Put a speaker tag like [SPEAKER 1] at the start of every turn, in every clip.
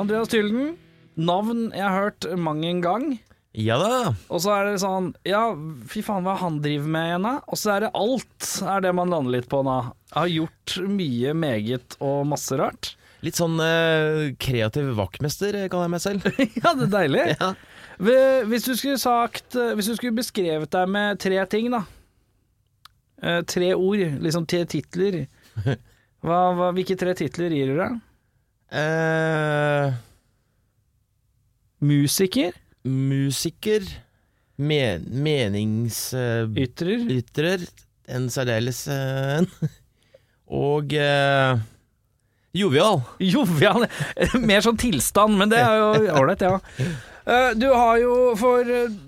[SPEAKER 1] Andreas Tylden, navn jeg har hørt mang en gang.
[SPEAKER 2] Ja da.
[SPEAKER 1] Og så er det sånn Ja, fy faen, hva han driver med igjen, da? Og så er det alt, er det man lander litt på nå. Jeg har gjort mye meget og masse rart.
[SPEAKER 2] Litt sånn eh, kreativ vaktmester, eh, kaller jeg meg selv.
[SPEAKER 1] ja, det er deilig.
[SPEAKER 2] Ja.
[SPEAKER 1] Hve- Hvis du skulle sagt eh, Hvis du skulle beskrevet deg med tre ting, da. Eh, tre ord, liksom tre titler. Hva, hva, hvilke tre titler gir du deg?
[SPEAKER 2] Eh,
[SPEAKER 1] Musiker?
[SPEAKER 2] musiker, men meningsytrer,
[SPEAKER 1] Ytrer?
[SPEAKER 2] en særdeles eh, en. Og eh, jovial.
[SPEAKER 1] Jovial. Mer sånn tilstand, men det er jo ålreit, ja. Eh, Du har jo for eh,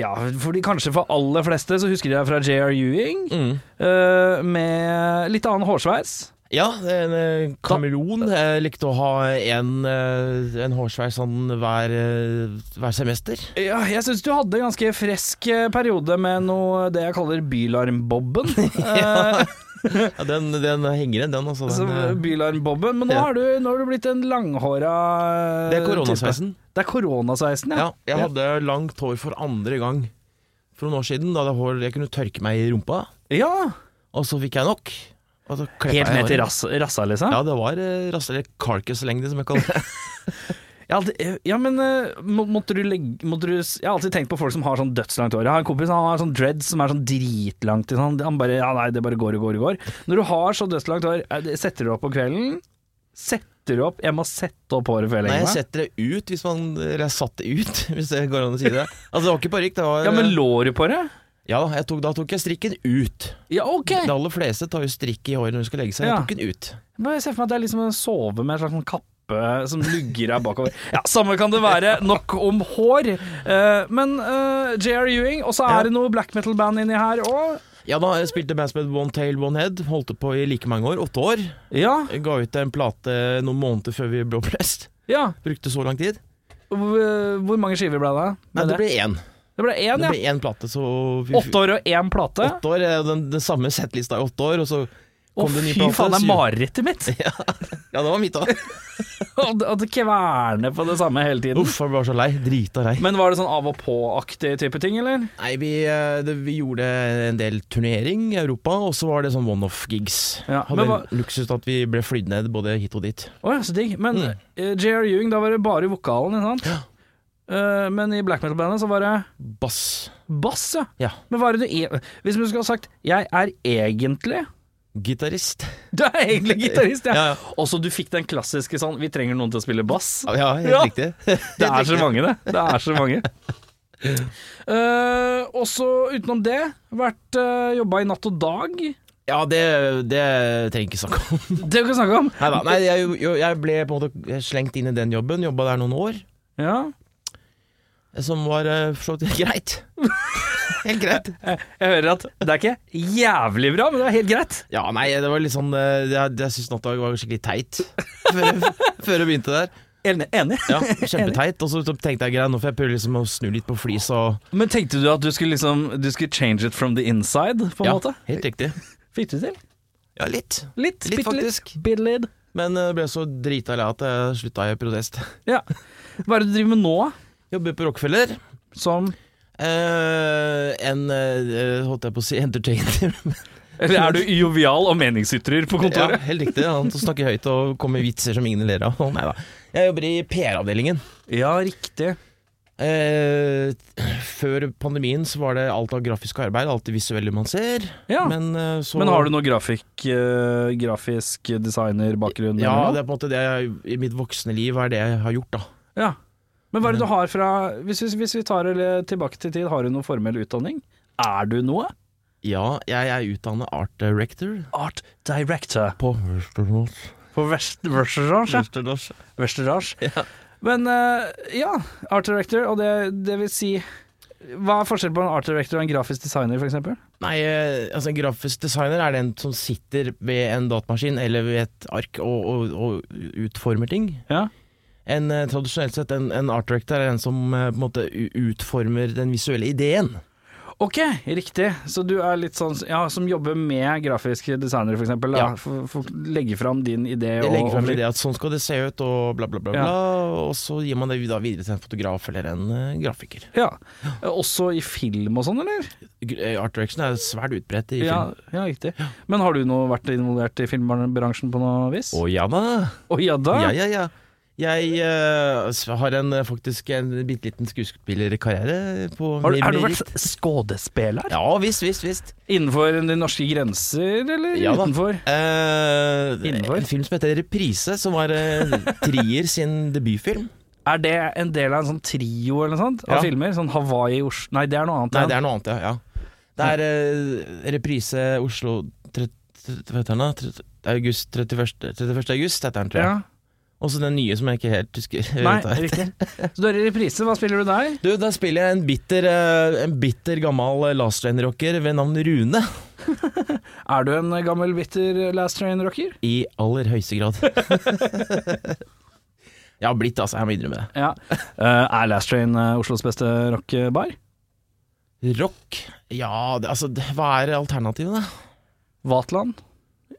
[SPEAKER 1] Ja, for de, kanskje for aller fleste så husker de deg fra JR Ewing.
[SPEAKER 2] Mm.
[SPEAKER 1] eh, Med litt annen hårsveis.
[SPEAKER 2] Ja, det er en eh, kameleon. Jeg likte å ha en, eh, en hårsveis sånn hver, eh, hver semester.
[SPEAKER 1] Ja, jeg syns du hadde en ganske fresk eh, periode med noe det jeg kaller bylarmbobben. Eh,
[SPEAKER 2] Ja, den, den henger igjen, den. Altså,
[SPEAKER 1] altså,
[SPEAKER 2] den eh,
[SPEAKER 1] bylarmbobben. Men nå,
[SPEAKER 2] Ja.
[SPEAKER 1] har du, nå har du blitt en langhåra eh,
[SPEAKER 2] det er
[SPEAKER 1] type.
[SPEAKER 2] koronasveisen.
[SPEAKER 1] Det er koronasveisen, ja.
[SPEAKER 2] Ja, jeg hadde langt hår for andre gang for noen år siden. Da hadde jeg hår jeg kunne tørke meg i rumpa,
[SPEAKER 1] ja.
[SPEAKER 2] og så fikk jeg nok. Og så klippet
[SPEAKER 1] Helt
[SPEAKER 2] jeg
[SPEAKER 1] ned til
[SPEAKER 2] håret.
[SPEAKER 1] rass- rassa, liksom?
[SPEAKER 2] Ja, det var eh, rass, eller carcass-lengde, som jeg kaller det.
[SPEAKER 1] Ja, det, ja men eh, må, måtte du legge måtte du, s- Jeg har alltid tenkt på folk som har sånn dødslangt hår. Jeg har en kompis han har sånn dreads som er sånn dritlangt. Sånn, han bare Ja, nei, det bare går og går og går. Når du har så dødslangt hår, eh, det- setter du opp på kvelden? Setter du opp Jeg må sette opp håret før jeg
[SPEAKER 2] Nei,
[SPEAKER 1] legger
[SPEAKER 2] jeg
[SPEAKER 1] meg.
[SPEAKER 2] setter det ut, hvis man, eller jeg satte det ut, hvis det går an å si det. Altså, det var ikke parykk, det var eh,
[SPEAKER 1] Ja, men lå du på det?
[SPEAKER 2] Ja, jeg tok, da tok jeg strikken ut.
[SPEAKER 1] Ja, OK!
[SPEAKER 2] De aller fleste tar jo strikk i håret når de skal legge seg.
[SPEAKER 1] Ja.
[SPEAKER 2] Jeg tok den ut.
[SPEAKER 1] Bare Jeg ser for meg at det er liksom en sove med en slags sånn kappe som lugger deg bakover. Ja, samme kan det være. Nok om hår. Eh, men eh, JR Ewing, og så
[SPEAKER 2] Ja.
[SPEAKER 1] er det noe black metal-band inni her òg.
[SPEAKER 2] Ja, da jeg spilte bands med One Tail, One Head. Holdt på i like mange år, åtte år.
[SPEAKER 1] Ja,
[SPEAKER 2] Jeg ga ut en plate noen måneder før vi ble opplest.
[SPEAKER 1] ja.
[SPEAKER 2] Brukte så lang tid.
[SPEAKER 1] Hvor eh, hvor mange skiver ble det?
[SPEAKER 2] Nei,
[SPEAKER 1] med
[SPEAKER 2] det ble én.
[SPEAKER 1] det ble én, ja.
[SPEAKER 2] Det ble én plate, så vi-
[SPEAKER 1] Åtte år og én plate?
[SPEAKER 2] åtte år, eh, den, den samme settlista i åtte år, og så
[SPEAKER 1] Å,
[SPEAKER 2] kom det en ny
[SPEAKER 1] fy
[SPEAKER 2] plate.
[SPEAKER 1] faen, det er
[SPEAKER 2] syv-
[SPEAKER 1] marerittet mitt!
[SPEAKER 2] Ja, det var mitt òg.
[SPEAKER 1] Og det- og det kverner på det samme hele tiden.
[SPEAKER 2] Uff, jeg ble så lei. Drita lei.
[SPEAKER 1] Men var det sånn av og på-aktig type ting, eller?
[SPEAKER 2] Nei, vi, eh, det, vi gjorde en del turnering i Europa, og så var det sånn one-off-gigs.
[SPEAKER 1] Ja,
[SPEAKER 2] Hadde
[SPEAKER 1] men hva-
[SPEAKER 2] luksus at vi ble flydd ned både hit og dit.
[SPEAKER 1] Å ja, så digg. Men
[SPEAKER 2] Mm.
[SPEAKER 1] eh, JR Ewing, da var det bare vokalen, ikke sant? Eh, men i black metal-bandet så var det
[SPEAKER 2] Bass.
[SPEAKER 1] bass, ja.
[SPEAKER 2] Ja.
[SPEAKER 1] Men hva er det du e Hvis du skulle ha sagt 'jeg er egentlig'
[SPEAKER 2] Gitarist.
[SPEAKER 1] Du er egentlig gitarist, ja.
[SPEAKER 2] Ja, ja.
[SPEAKER 1] Også du fikk den klassiske sånn 'vi trenger noen til å spille bass'.
[SPEAKER 2] Ja, ja helt
[SPEAKER 1] Ja.
[SPEAKER 2] riktig. Helt
[SPEAKER 1] Det er så
[SPEAKER 2] riktig.
[SPEAKER 1] mange, det. Det er så mange. Eh, også utenom det, vært uh, jobba i Natt og Dag.
[SPEAKER 2] Ja, det, det trenger jeg ikke snakke om.
[SPEAKER 1] Det kan vi snakke om.
[SPEAKER 2] Neida, nei, jeg, jeg ble på en måte slengt inn i den jobben, jobba der noen år.
[SPEAKER 1] Ja.
[SPEAKER 2] Som var eh, for så vidt greit. Helt greit.
[SPEAKER 1] Jeg, jeg hører at det er ikke jævlig bra, men det er helt greit.
[SPEAKER 2] Ja, nei, det var litt sånn eh, Jeg, jeg syns Nattdag var skikkelig teit før jeg, før jeg begynte der.
[SPEAKER 1] Enig. enig.
[SPEAKER 2] Ja, Kjempeteit. Og så tenkte jeg greit, nå får jeg prøve liksom å snu litt på flis og
[SPEAKER 1] Men tenkte du at du skulle liksom Du skulle change it from the inside, på en
[SPEAKER 2] Ja,
[SPEAKER 1] måte?
[SPEAKER 2] helt riktig.
[SPEAKER 1] Fikk du til?
[SPEAKER 2] Ja, litt.
[SPEAKER 1] Litt,
[SPEAKER 2] Litt,
[SPEAKER 1] bitte litt.
[SPEAKER 2] faktisk.
[SPEAKER 1] Bitte litt.
[SPEAKER 2] Men eh, det ble så drita lei at jeg slutta i protest.
[SPEAKER 1] Ja. Hva er det du driver med nå?
[SPEAKER 2] Jobber på Rockefeller.
[SPEAKER 1] Som
[SPEAKER 2] Eh, en eh, holdt jeg på å si entertainer.
[SPEAKER 1] Eller er du jovial og meningsytrer på
[SPEAKER 2] ja,
[SPEAKER 1] kontoret?
[SPEAKER 2] helt riktig. Han som snakker høyt og kommer med vitser som ingen ler av. Nei da. Jeg jobber i PR-avdelingen.
[SPEAKER 1] Ja, riktig.
[SPEAKER 2] Eh, før pandemien så var det alt av grafisk arbeid, alt det visuelle man ser.
[SPEAKER 1] Ja. Men,
[SPEAKER 2] Men, eh, så,
[SPEAKER 1] har du noe grafikk, eh, grafisk designerbakgrunn?
[SPEAKER 2] Ja,
[SPEAKER 1] eller noe?
[SPEAKER 2] det er på en måte det jeg, i mitt voksne liv er det jeg har gjort, da.
[SPEAKER 1] ja. Men hva er det du har fra Hvis, vi- hvis vi tar det tilbake til tid, har du noe formell utdanning? Er du noe?
[SPEAKER 2] Ja, jeg er utdannet art director
[SPEAKER 1] Art director
[SPEAKER 2] på Westerdals.
[SPEAKER 1] på På West- Westerås, ja.
[SPEAKER 2] Østerdals.
[SPEAKER 1] Westerås.
[SPEAKER 2] Mm. Ja.
[SPEAKER 1] Men eh, ja, art director, og det, det vil si Hva er forskjellen på en art director og en grafisk designer, f.eks.?
[SPEAKER 2] Nei, eh, altså en grafisk designer er den som sitter ved en datamaskin eller ved et ark og, og, og utformer ting.
[SPEAKER 1] Ja.
[SPEAKER 2] En, eh, tradisjonelt sett, en, en art director er den som eh, på en måte u- utformer den visuelle ideen.
[SPEAKER 1] Ok, riktig. Så du er litt sånn ja, som jobber med grafiske designere, f.eks.
[SPEAKER 2] Ja.
[SPEAKER 1] For, for å legge fram din idé
[SPEAKER 2] Jeg
[SPEAKER 1] og
[SPEAKER 2] legger frem
[SPEAKER 1] og-
[SPEAKER 2] idé at sånn skal det se ut, og bla, bla, bla.
[SPEAKER 1] Ja.
[SPEAKER 2] bla og så gir man det da videre til en fotograf eller en eh, grafiker.
[SPEAKER 1] Ja. Eh, Også i film og sånn, eller?
[SPEAKER 2] Gr- eh, Art direction er svært utbredt i
[SPEAKER 1] Ja,
[SPEAKER 2] film.
[SPEAKER 1] ja, riktig. Men har du noe vært involvert i filmbransjen på noe vis?
[SPEAKER 2] Å ja da!
[SPEAKER 1] Å ja da!
[SPEAKER 2] Ja, ja, ja. Jeg eh, s- har en, eh, faktisk en bitte liten skuespillerkarriere. på
[SPEAKER 1] Har, du-
[SPEAKER 2] min-
[SPEAKER 1] har du vært skådespiller?
[SPEAKER 2] Ja visst, visst, visst.
[SPEAKER 1] Innenfor de norske grenser, eller
[SPEAKER 2] Ja da.
[SPEAKER 1] utenfor?
[SPEAKER 2] Eh,
[SPEAKER 1] Innenfor?
[SPEAKER 2] en film som heter Reprise, som var eh, Trier sin debutfilm.
[SPEAKER 1] Er det en del av en sånn trio eller noe sånt av
[SPEAKER 2] Ja.
[SPEAKER 1] filmer? Sånn Hawaii Oslo Nei, det er noe annet.
[SPEAKER 2] Nei,
[SPEAKER 1] ja.
[SPEAKER 2] det er noe annet, ja. ja. Det er eh, Reprise Oslo tre- tre- hva heter den da? Tre- August 31. 31. august, heter den, tror jeg.
[SPEAKER 1] Ja.
[SPEAKER 2] Og så den nye som jeg ikke helt husker.
[SPEAKER 1] Nei,
[SPEAKER 2] Vet jeg.
[SPEAKER 1] riktig. Så du er i reprise. Hva spiller du der?
[SPEAKER 2] Du, Der spiller jeg en bitter, eh, en bitter gammel eh, last train-rocker ved navn Rune.
[SPEAKER 1] Er du en gammel,
[SPEAKER 2] eh,
[SPEAKER 1] bitter Last Train-rocker?
[SPEAKER 2] I aller høyeste grad. jeg har blitt, altså. Jeg må innrømme det.
[SPEAKER 1] Ja. Eh, er Last Train eh, Oslos beste rockebar?
[SPEAKER 2] Rock? Ja, det, altså det, Hva er alternativene?
[SPEAKER 1] Vatland?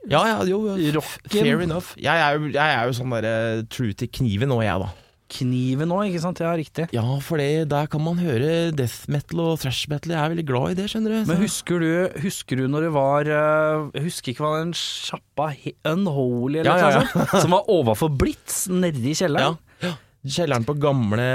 [SPEAKER 2] Ja, ja, jo, jo. Fair
[SPEAKER 1] Rocken?
[SPEAKER 2] enough. Jeg er, jo, jeg er jo sånn derre true til kniven nå, jeg, da.
[SPEAKER 1] Kniven òg, ikke sant? Ja, riktig.
[SPEAKER 2] Ja, for det, der kan man høre death metal og thrash metal. Jeg er veldig glad i det, skjønner du. Så-
[SPEAKER 1] Men husker du, husker du når det var eh, Jeg husker ikke hva den sjappa he- Unholy eller
[SPEAKER 2] Ja,
[SPEAKER 1] noe
[SPEAKER 2] ja,
[SPEAKER 1] sånt? Som var overfor Blitz, nede i
[SPEAKER 2] ja.
[SPEAKER 1] kjelleren.
[SPEAKER 2] ja. Kjelleren på gamle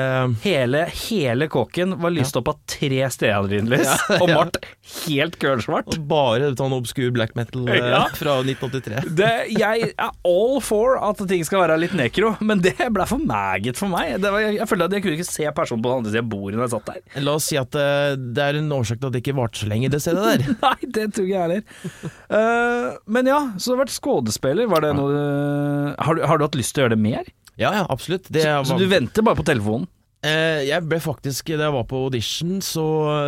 [SPEAKER 1] Hele, hele kåken var lyst opp av tre stearinlys, og malt helt kølsvart.
[SPEAKER 2] og Bare sånn obskur black metal eh,
[SPEAKER 1] Ja.
[SPEAKER 2] fra 1983.
[SPEAKER 1] Det, jeg er all for at ting skal være litt nekro, men det ble for meget for meg. Det var, jeg, jeg følte at jeg kunne ikke se personen på den andre siden av bordet når jeg satt der.
[SPEAKER 2] La oss si at eh, det er en årsak til at det ikke varte så lenge, det stedet der.
[SPEAKER 1] Nei, det tror ikke jeg heller. Eh, men ja, så du har vært skuespiller. Var det noe du- har, du- har du hatt lyst til å gjøre det mer?
[SPEAKER 2] Ja, ja, absolutt. Det
[SPEAKER 1] Så, så
[SPEAKER 2] var-
[SPEAKER 1] du venter bare på telefonen?
[SPEAKER 2] Eh, jeg ble faktisk, da jeg var på audition, så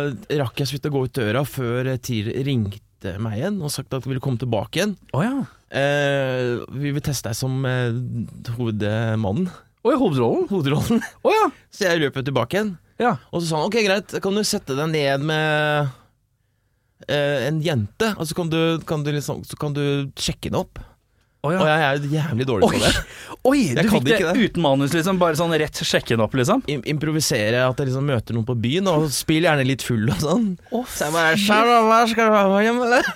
[SPEAKER 2] eh, rakk jeg så vidt å gå ut døra før eh, TIR ringte meg igjen og sagt at de ville komme tilbake igjen.
[SPEAKER 1] Å ja.
[SPEAKER 2] Eh, vi vil teste deg som eh, hovedmannen,
[SPEAKER 1] Å ja, hovedrollen?
[SPEAKER 2] hovedrollen.
[SPEAKER 1] Å ja.
[SPEAKER 2] Så jeg løp jo tilbake igjen.
[SPEAKER 1] ja.
[SPEAKER 2] Og så sa han ok, greit, kan du sette deg ned med eh, en jente, og så kan du, kan du liksom Så kan du sjekke henne opp.
[SPEAKER 1] Å, ja.
[SPEAKER 2] Og jeg er jo jævlig dårlig
[SPEAKER 1] Oi,
[SPEAKER 2] på det.
[SPEAKER 1] oi
[SPEAKER 2] Jeg
[SPEAKER 1] du
[SPEAKER 2] kan
[SPEAKER 1] fikk det,
[SPEAKER 2] ikke
[SPEAKER 1] uten manus, liksom? Bare sånn rett sjekke den opp, liksom?
[SPEAKER 2] Im improvisere at jeg liksom møter noen på byen, og spill gjerne litt full og sånn.
[SPEAKER 1] Å,
[SPEAKER 2] Så jeg bare «Shalala, Skal du være med hjem, eller?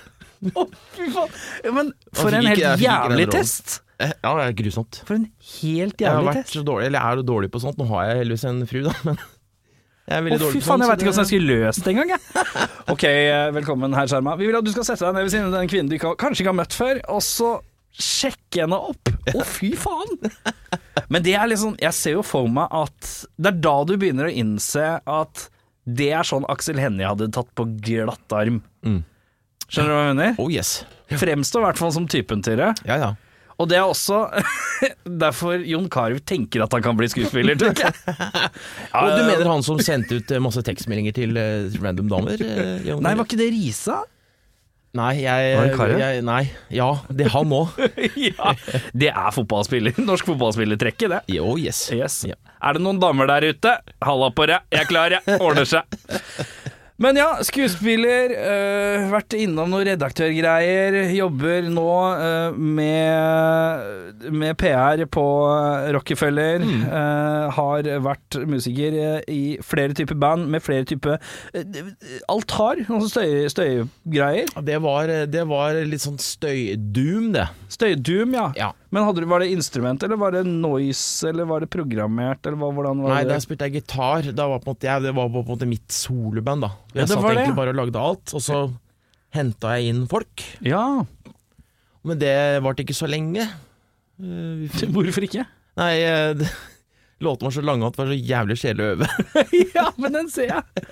[SPEAKER 1] fy faen! Ja, Men for
[SPEAKER 2] fikk
[SPEAKER 1] en helt
[SPEAKER 2] ikke- jeg fikk ikke den
[SPEAKER 1] jævlig
[SPEAKER 2] rollen.
[SPEAKER 1] test!
[SPEAKER 2] Eh, Ja, det er grusomt.
[SPEAKER 1] For en helt
[SPEAKER 2] Jeg har
[SPEAKER 1] jævlig
[SPEAKER 2] vært
[SPEAKER 1] test.
[SPEAKER 2] så dårlig, eller jeg er jo dårlig på sånt. Nå har jeg heldigvis en fru, da, men jeg er
[SPEAKER 1] Å,
[SPEAKER 2] veldig
[SPEAKER 1] fy faen, jeg
[SPEAKER 2] dårlig på sånt.
[SPEAKER 1] veit ikke hvordan jeg skulle løst det engang, jeg. Ok, eh, velkommen herr Skjerma. Vi vil at du skal sette deg ned ved siden av den kvinnen du ikke har- kanskje ikke har møtt før, og så sjekke henne opp. Å, fy faen! Men det er liksom Jeg ser jo for meg at det er da du begynner å innse at det er sånn Aksel Hennie hadde tatt på glatt arm.
[SPEAKER 2] Mm.
[SPEAKER 1] Skjønner du hva jeg mener?
[SPEAKER 2] Oh yes.
[SPEAKER 1] Fremstår i hvert fall som typen til det.
[SPEAKER 2] Ja, ja.
[SPEAKER 1] Og det er også derfor Jon Carew tenker at han kan bli skuespiller, tror jeg.
[SPEAKER 2] Og du mener han som sendte ut eh, masse tekstmeldinger til eh, random damer? eh, Jon
[SPEAKER 1] Nei,
[SPEAKER 2] Carew?
[SPEAKER 1] var ikke det Risa?
[SPEAKER 2] nei, jeg,
[SPEAKER 1] Var det Carew?
[SPEAKER 2] jeg Nei. Ja, det er han òg.
[SPEAKER 1] ja, det er fotballspiller. Norsk fotballspillertrekket, det.
[SPEAKER 2] Oh yes.
[SPEAKER 1] Yes.
[SPEAKER 2] Ja.
[SPEAKER 1] Er det noen damer der ute? Halla på deg, jeg er klar, jeg. Ordner seg. Men ja, skuespiller. øh, vært innom noen redaktørgreier. Jobber nå øh, med, med PR på øh, Rockefeller. øh, har vært musiker øh, i flere typer band med flere typer øh, altar. Noen støy- støygreier.
[SPEAKER 2] Det var, eh, det var litt sånn støy-doom, det.
[SPEAKER 1] Støydoom, ja.
[SPEAKER 2] Ja.
[SPEAKER 1] Men hadde, du- var det instrument, eller var det noise, eller var det programmert, eller hva, hvordan var
[SPEAKER 2] Nei,
[SPEAKER 1] det?
[SPEAKER 2] der spilte jeg gitar. Da var på en måte, jeg, det var på en måte mitt soloband, da.
[SPEAKER 1] Ja,
[SPEAKER 2] Jeg
[SPEAKER 1] det
[SPEAKER 2] satt
[SPEAKER 1] var det,
[SPEAKER 2] egentlig
[SPEAKER 1] ja.
[SPEAKER 2] bare og lagde alt, og så henta jeg inn folk.
[SPEAKER 1] Ja,
[SPEAKER 2] Men det varte ikke så lenge. Eh, vi fikk-
[SPEAKER 1] hvorfor ikke?
[SPEAKER 2] Nei, eh, det- Låtene var så lange at det var så jævlig kjedelig å øve.
[SPEAKER 1] ja, men den ser jeg.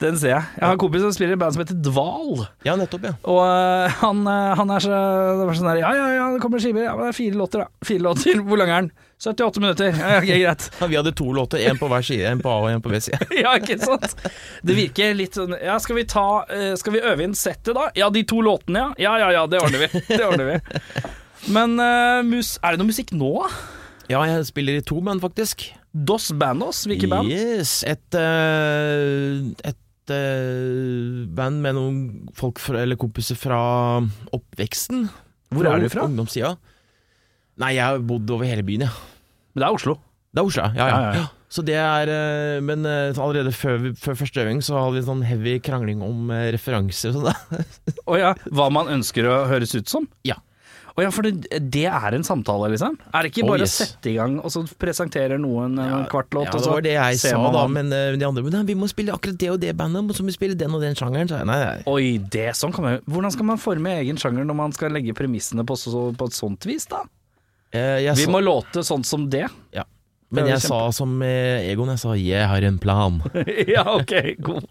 [SPEAKER 1] Den ser jeg. Jeg har en kompis som spiller i et band som heter Dval.
[SPEAKER 2] ja, nettopp, ja.
[SPEAKER 1] Og øh, han, øh, han er så det var sånn der, Ja, ja, ja, det kommer skiver. Ja, men det er fire låter, da. Fire låter. Hvor lang er den? 78 minutter. Ja, ok, greit.
[SPEAKER 2] Ja, Vi hadde to låter, én på hver side, én på A og én på B-side.
[SPEAKER 1] Ja, ikke sant? Det virker litt sånn Ja, skal vi ta øh, Skal vi øve inn settet, da? Ja, de to låtene, ja. Ja, ja, ja, det ordner vi. Det ordner vi. Men øh, mus, er det noe musikk nå, da?
[SPEAKER 2] Ja, jeg spiller i to band, faktisk.
[SPEAKER 1] Dos Bandos, hvilket band?
[SPEAKER 2] Yes, et eh, et eh, band med noen folk fra, eller kompiser fra oppveksten.
[SPEAKER 1] Hvor er du fra?
[SPEAKER 2] Ungdomstida. Nei, jeg har bodd over hele byen, ja.
[SPEAKER 1] Men Det er Oslo.
[SPEAKER 2] Det er Oslo, ja. ja,
[SPEAKER 1] Ja,
[SPEAKER 2] ja.
[SPEAKER 1] ja, ja.
[SPEAKER 2] Så det er eh, Men eh, allerede før, vi- før første øving så hadde vi sånn heavy krangling om eh, referanser og sånn. da.
[SPEAKER 1] Å ja, hva man ønsker å høres ut som?
[SPEAKER 2] Ja.
[SPEAKER 1] Å ja, for det, det er en samtale, liksom? Er det ikke
[SPEAKER 2] Oh,
[SPEAKER 1] bare
[SPEAKER 2] yes.
[SPEAKER 1] å sette i gang, og så presenterer noen eh, en kvart låt,
[SPEAKER 2] Ja,
[SPEAKER 1] og
[SPEAKER 2] det
[SPEAKER 1] så
[SPEAKER 2] var det jeg
[SPEAKER 1] altså. ser
[SPEAKER 2] sa
[SPEAKER 1] man
[SPEAKER 2] da,
[SPEAKER 1] om-
[SPEAKER 2] men eh, de andre Men nei, vi må spille akkurat det og det bandet, og så må vi spille den og den sjangeren. Så jeg, nei, nei.
[SPEAKER 1] Oi, det sånn kan man jo Hvordan skal man forme egen sjanger når man skal legge premissene på, så, på et sånt vis, da?
[SPEAKER 2] Eh, jeg
[SPEAKER 1] Vi
[SPEAKER 2] sa,
[SPEAKER 1] må låte sånn som det.
[SPEAKER 2] ja.
[SPEAKER 1] Det
[SPEAKER 2] Men
[SPEAKER 1] er
[SPEAKER 2] jeg
[SPEAKER 1] jo
[SPEAKER 2] sa som eh, Egon, jeg sa 'jeg har en plan'.
[SPEAKER 1] ja, ok, god.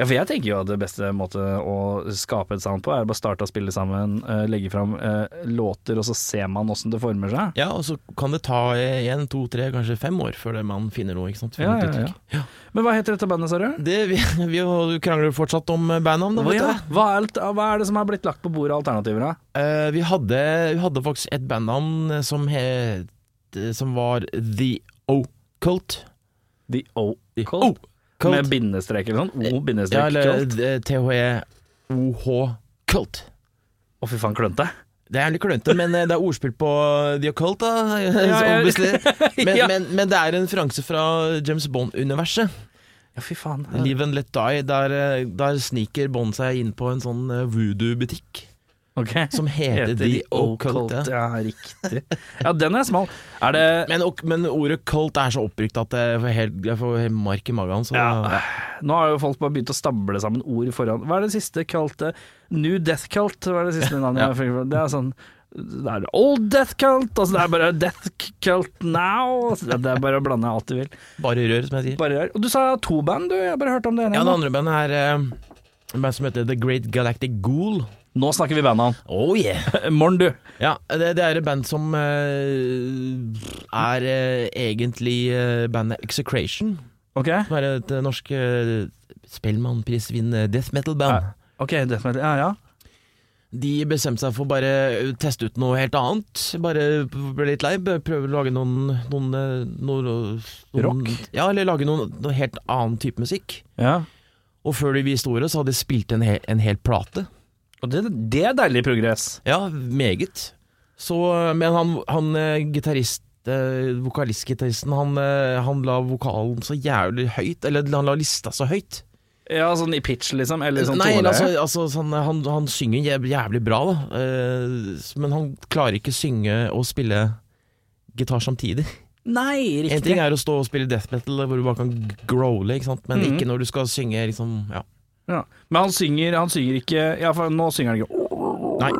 [SPEAKER 1] Ja, for jeg tenker jo at det beste måte å skape et sound på, er bare starte å spille sammen, eh, legge fram eh, låter, og så ser man åssen det former seg.
[SPEAKER 2] Ja, og så kan det ta eh, en, to, tre, kanskje fem år før det man finner noe. ikke sant?
[SPEAKER 1] Ja,
[SPEAKER 2] Finner et
[SPEAKER 1] ja, ja.
[SPEAKER 2] uttrykk. Ja.
[SPEAKER 1] Men hva heter dette bandet, sa du?
[SPEAKER 2] Det, vi, vi krangler fortsatt om eh, bandnavn. da,
[SPEAKER 1] Hva,
[SPEAKER 2] vet du.
[SPEAKER 1] ja. hva, er, alt- hva er det som har blitt lagt på bordet av alternativer, da?
[SPEAKER 2] Eh, vi, hadde, vi hadde faktisk et bandnavn eh, som het eh, Som var The Occult.
[SPEAKER 1] The
[SPEAKER 2] The
[SPEAKER 1] O-Cult?
[SPEAKER 2] Occult.
[SPEAKER 1] Med bindestrek eller sånn?
[SPEAKER 2] ja,
[SPEAKER 1] O-bindestrek
[SPEAKER 2] eller
[SPEAKER 1] Cult?
[SPEAKER 2] eh, THE-OH Cult.
[SPEAKER 1] Å, fy faen, klønte.
[SPEAKER 2] Det er litt klønete, men eh, det er ordspill på The Occult, da.
[SPEAKER 1] ja.
[SPEAKER 2] Obviously. Men,
[SPEAKER 1] Ja.
[SPEAKER 2] men, men det er en referanse fra James Bond-universet.
[SPEAKER 1] Ja, fy faen.
[SPEAKER 2] Live and Let Die. Der, eh, der sniker Bond seg inn på en sånn eh, voodoo-butikk
[SPEAKER 1] Ok.
[SPEAKER 2] som heter, The Occult. Ja.
[SPEAKER 1] Ja, riktig. Ja, den er smal. Er det
[SPEAKER 2] Men, ok- men ordet cult er så opprykt at jeg får helt, jeg får helt mark i magen. Så
[SPEAKER 1] ja. Nå har jo folk bare begynt å stable sammen ord foran Hva er det siste kalte New Death Cult? Hva er det siste navnet? jeg fikk? Det er sånn det er Old Death Cult, altså det er bare Death Cult Now. Altså det er bare å blande alt du vil.
[SPEAKER 2] bare rør, som jeg sier.
[SPEAKER 1] Bare rør. Og du sa to band, du. Jeg har bare hørte om det ene.
[SPEAKER 2] Ja, det
[SPEAKER 1] nå.
[SPEAKER 2] andre bandet er eh, et band som heter The Great Galactic Ghoul.
[SPEAKER 1] Nå snakker vi bandnavn.
[SPEAKER 2] Oh yeah!
[SPEAKER 1] Eh, Morn, du.
[SPEAKER 2] Ja, det, det er et band som eh, er eh, egentlig eh, bandet Execration.
[SPEAKER 1] Ok,
[SPEAKER 2] Som er et eh, norsk uh, Spellemannprisvinnende death metal-band.
[SPEAKER 1] Ja. ok, Death Metal. Ja, ja.
[SPEAKER 2] De bestemte seg for bare å teste ut noe helt annet. Bare ble litt lei. Prøve å lage noen, noen, eh, noen, noen
[SPEAKER 1] Rock?
[SPEAKER 2] Ja, eller lage noen, noe helt annen type musikk.
[SPEAKER 1] ja.
[SPEAKER 2] Og før de viste ordet, så hadde de spilt en hel, en hel plate.
[SPEAKER 1] Og det, det er deilig progress.
[SPEAKER 2] Ja, meget. Så, men han, han eh, gitarist eh, Vokalist-gitaristen, han, eh, han la vokalen så jævlig høyt. Eller han la lista så høyt.
[SPEAKER 1] Ja, sånn i pitch, liksom? Eller sånn
[SPEAKER 2] Nei,
[SPEAKER 1] tone?
[SPEAKER 2] altså, altså sånn, han, han synger jæv- jævlig bra, da. Eh, men han klarer ikke synge og spille gitar samtidig.
[SPEAKER 1] Nei,
[SPEAKER 2] En ting er å stå og spille death metal hvor du bare kan growle, ikke sant? men
[SPEAKER 1] Mhm.
[SPEAKER 2] ikke når du skal synge liksom ja.
[SPEAKER 1] Ja. Men han synger, han synger ikke Ja, for nå synger han ikke
[SPEAKER 2] Nei.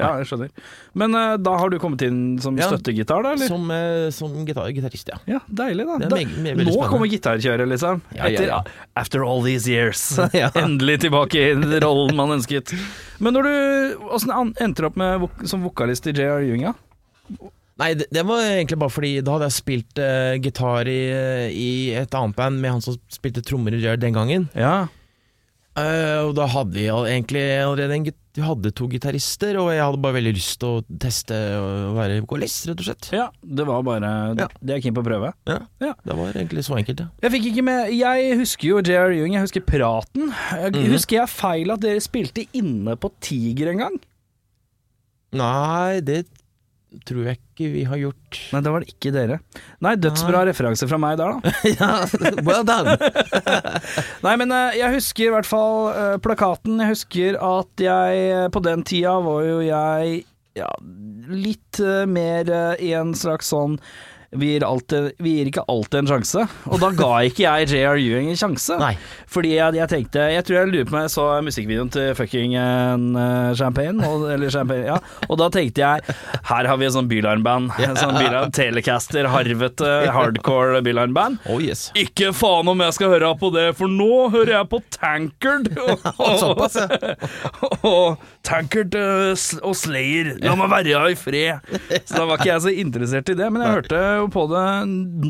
[SPEAKER 1] Ja, jeg skjønner. Men eh, da har du kommet inn som
[SPEAKER 2] Ja.
[SPEAKER 1] støttegitar, da? Eller?
[SPEAKER 2] Som, eh, som gitar, gitarist, ja.
[SPEAKER 1] Ja, deilig, da.
[SPEAKER 2] Det er
[SPEAKER 1] da
[SPEAKER 2] meg- meg- veldig
[SPEAKER 1] nå
[SPEAKER 2] spennende.
[SPEAKER 1] kommer gitarkjøret, liksom.
[SPEAKER 2] Ja, ja, ja.
[SPEAKER 1] Etter, after all these years.
[SPEAKER 2] Ja.
[SPEAKER 1] Endelig tilbake i den rollen man ønsket. Men når du Åssen an- endte du opp med, vok som vokalist i JR Ewing, ja?
[SPEAKER 2] Nei, det, det var egentlig bare fordi da hadde jeg spilt eh, gitar i, eh, i et annet band med han som spilte trommer i Jared den gangen.
[SPEAKER 1] Ja.
[SPEAKER 2] Eh, og da hadde vi all- egentlig allerede en, git- vi hadde to gitarister, og jeg hadde bare veldig lyst til å teste å være vokalist, rett og slett.
[SPEAKER 1] ja. Det var bare
[SPEAKER 2] Ja.
[SPEAKER 1] Det er jeg keen på å prøve.
[SPEAKER 2] Ja.
[SPEAKER 1] Ja.
[SPEAKER 2] Det var egentlig så enkelt, ja.
[SPEAKER 1] Jeg fikk ikke med Jeg husker jo JR Ewing, jeg husker praten. Jeg,
[SPEAKER 2] Mhm.
[SPEAKER 1] Husker jeg feil at dere spilte inne på Tiger en gang?
[SPEAKER 2] Nei, det tror jeg ikke vi har gjort.
[SPEAKER 1] Nei, det var det ikke dere. Nei,
[SPEAKER 2] Ah.
[SPEAKER 1] dødsbra referanse fra meg der, da.
[SPEAKER 2] ja, well done!
[SPEAKER 1] Nei, men eh, jeg husker i hvert fall eh, plakaten. Jeg husker at jeg eh, på den tida var jo jeg ja, litt eh, mer eh, i en slags sånn vi gir, alltid, vi gir ikke alltid en sjanse. Og da ga ikke jeg J.R. Ewing en sjanse.
[SPEAKER 2] Nei.
[SPEAKER 1] Fordi jeg, jeg tenkte Jeg tror jeg lurer på om jeg så musikkvideoen til fucking eh, Champagne, og, eller Champagne, ja. Og da tenkte jeg her har vi et sånt bylarmband. En Sånn bylarm, Telecaster, harvete, hardcore bylarmband.
[SPEAKER 2] Oh yes.
[SPEAKER 1] Ikke faen om jeg skal høre på det, for nå hører jeg på Tankard. Og,
[SPEAKER 2] Såpass, ja.
[SPEAKER 1] og Tankard eh, sl- og Slayer. La meg være i fred. Så da var ikke jeg så interessert i det, men jeg hørte jo på det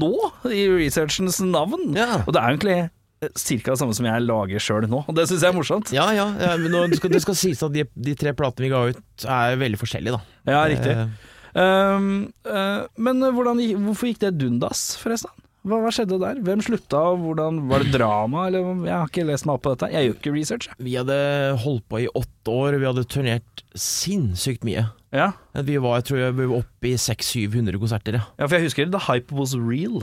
[SPEAKER 1] nå, i researchens navn.
[SPEAKER 2] Ja.
[SPEAKER 1] Og det er jo egentlig ca. det samme som jeg lager sjøl nå, og det syns jeg er morsomt.
[SPEAKER 2] Ja, ja. ja men nå, det, skal, det skal sies at de, de tre platene vi ga ut, er veldig forskjellige, da.
[SPEAKER 1] Ja, riktig.
[SPEAKER 2] Eh,
[SPEAKER 1] Um, eh, men hvordan, gikk- hvorfor gikk det dundas, forresten? Hva, hva skjedde der? Hvem slutta, og hvordan Var det drama, eller? Jeg har ikke lest meg opp på dette. Jeg gjør ikke research, jeg.
[SPEAKER 2] vi hadde holdt på i åtte år, vi hadde turnert sinnssykt mye.
[SPEAKER 1] Ja.
[SPEAKER 2] Vi var, jeg tror jeg, vi var oppe i 600-700 konserter, ja.
[SPEAKER 1] Ja, for jeg husker The Hype Was Real.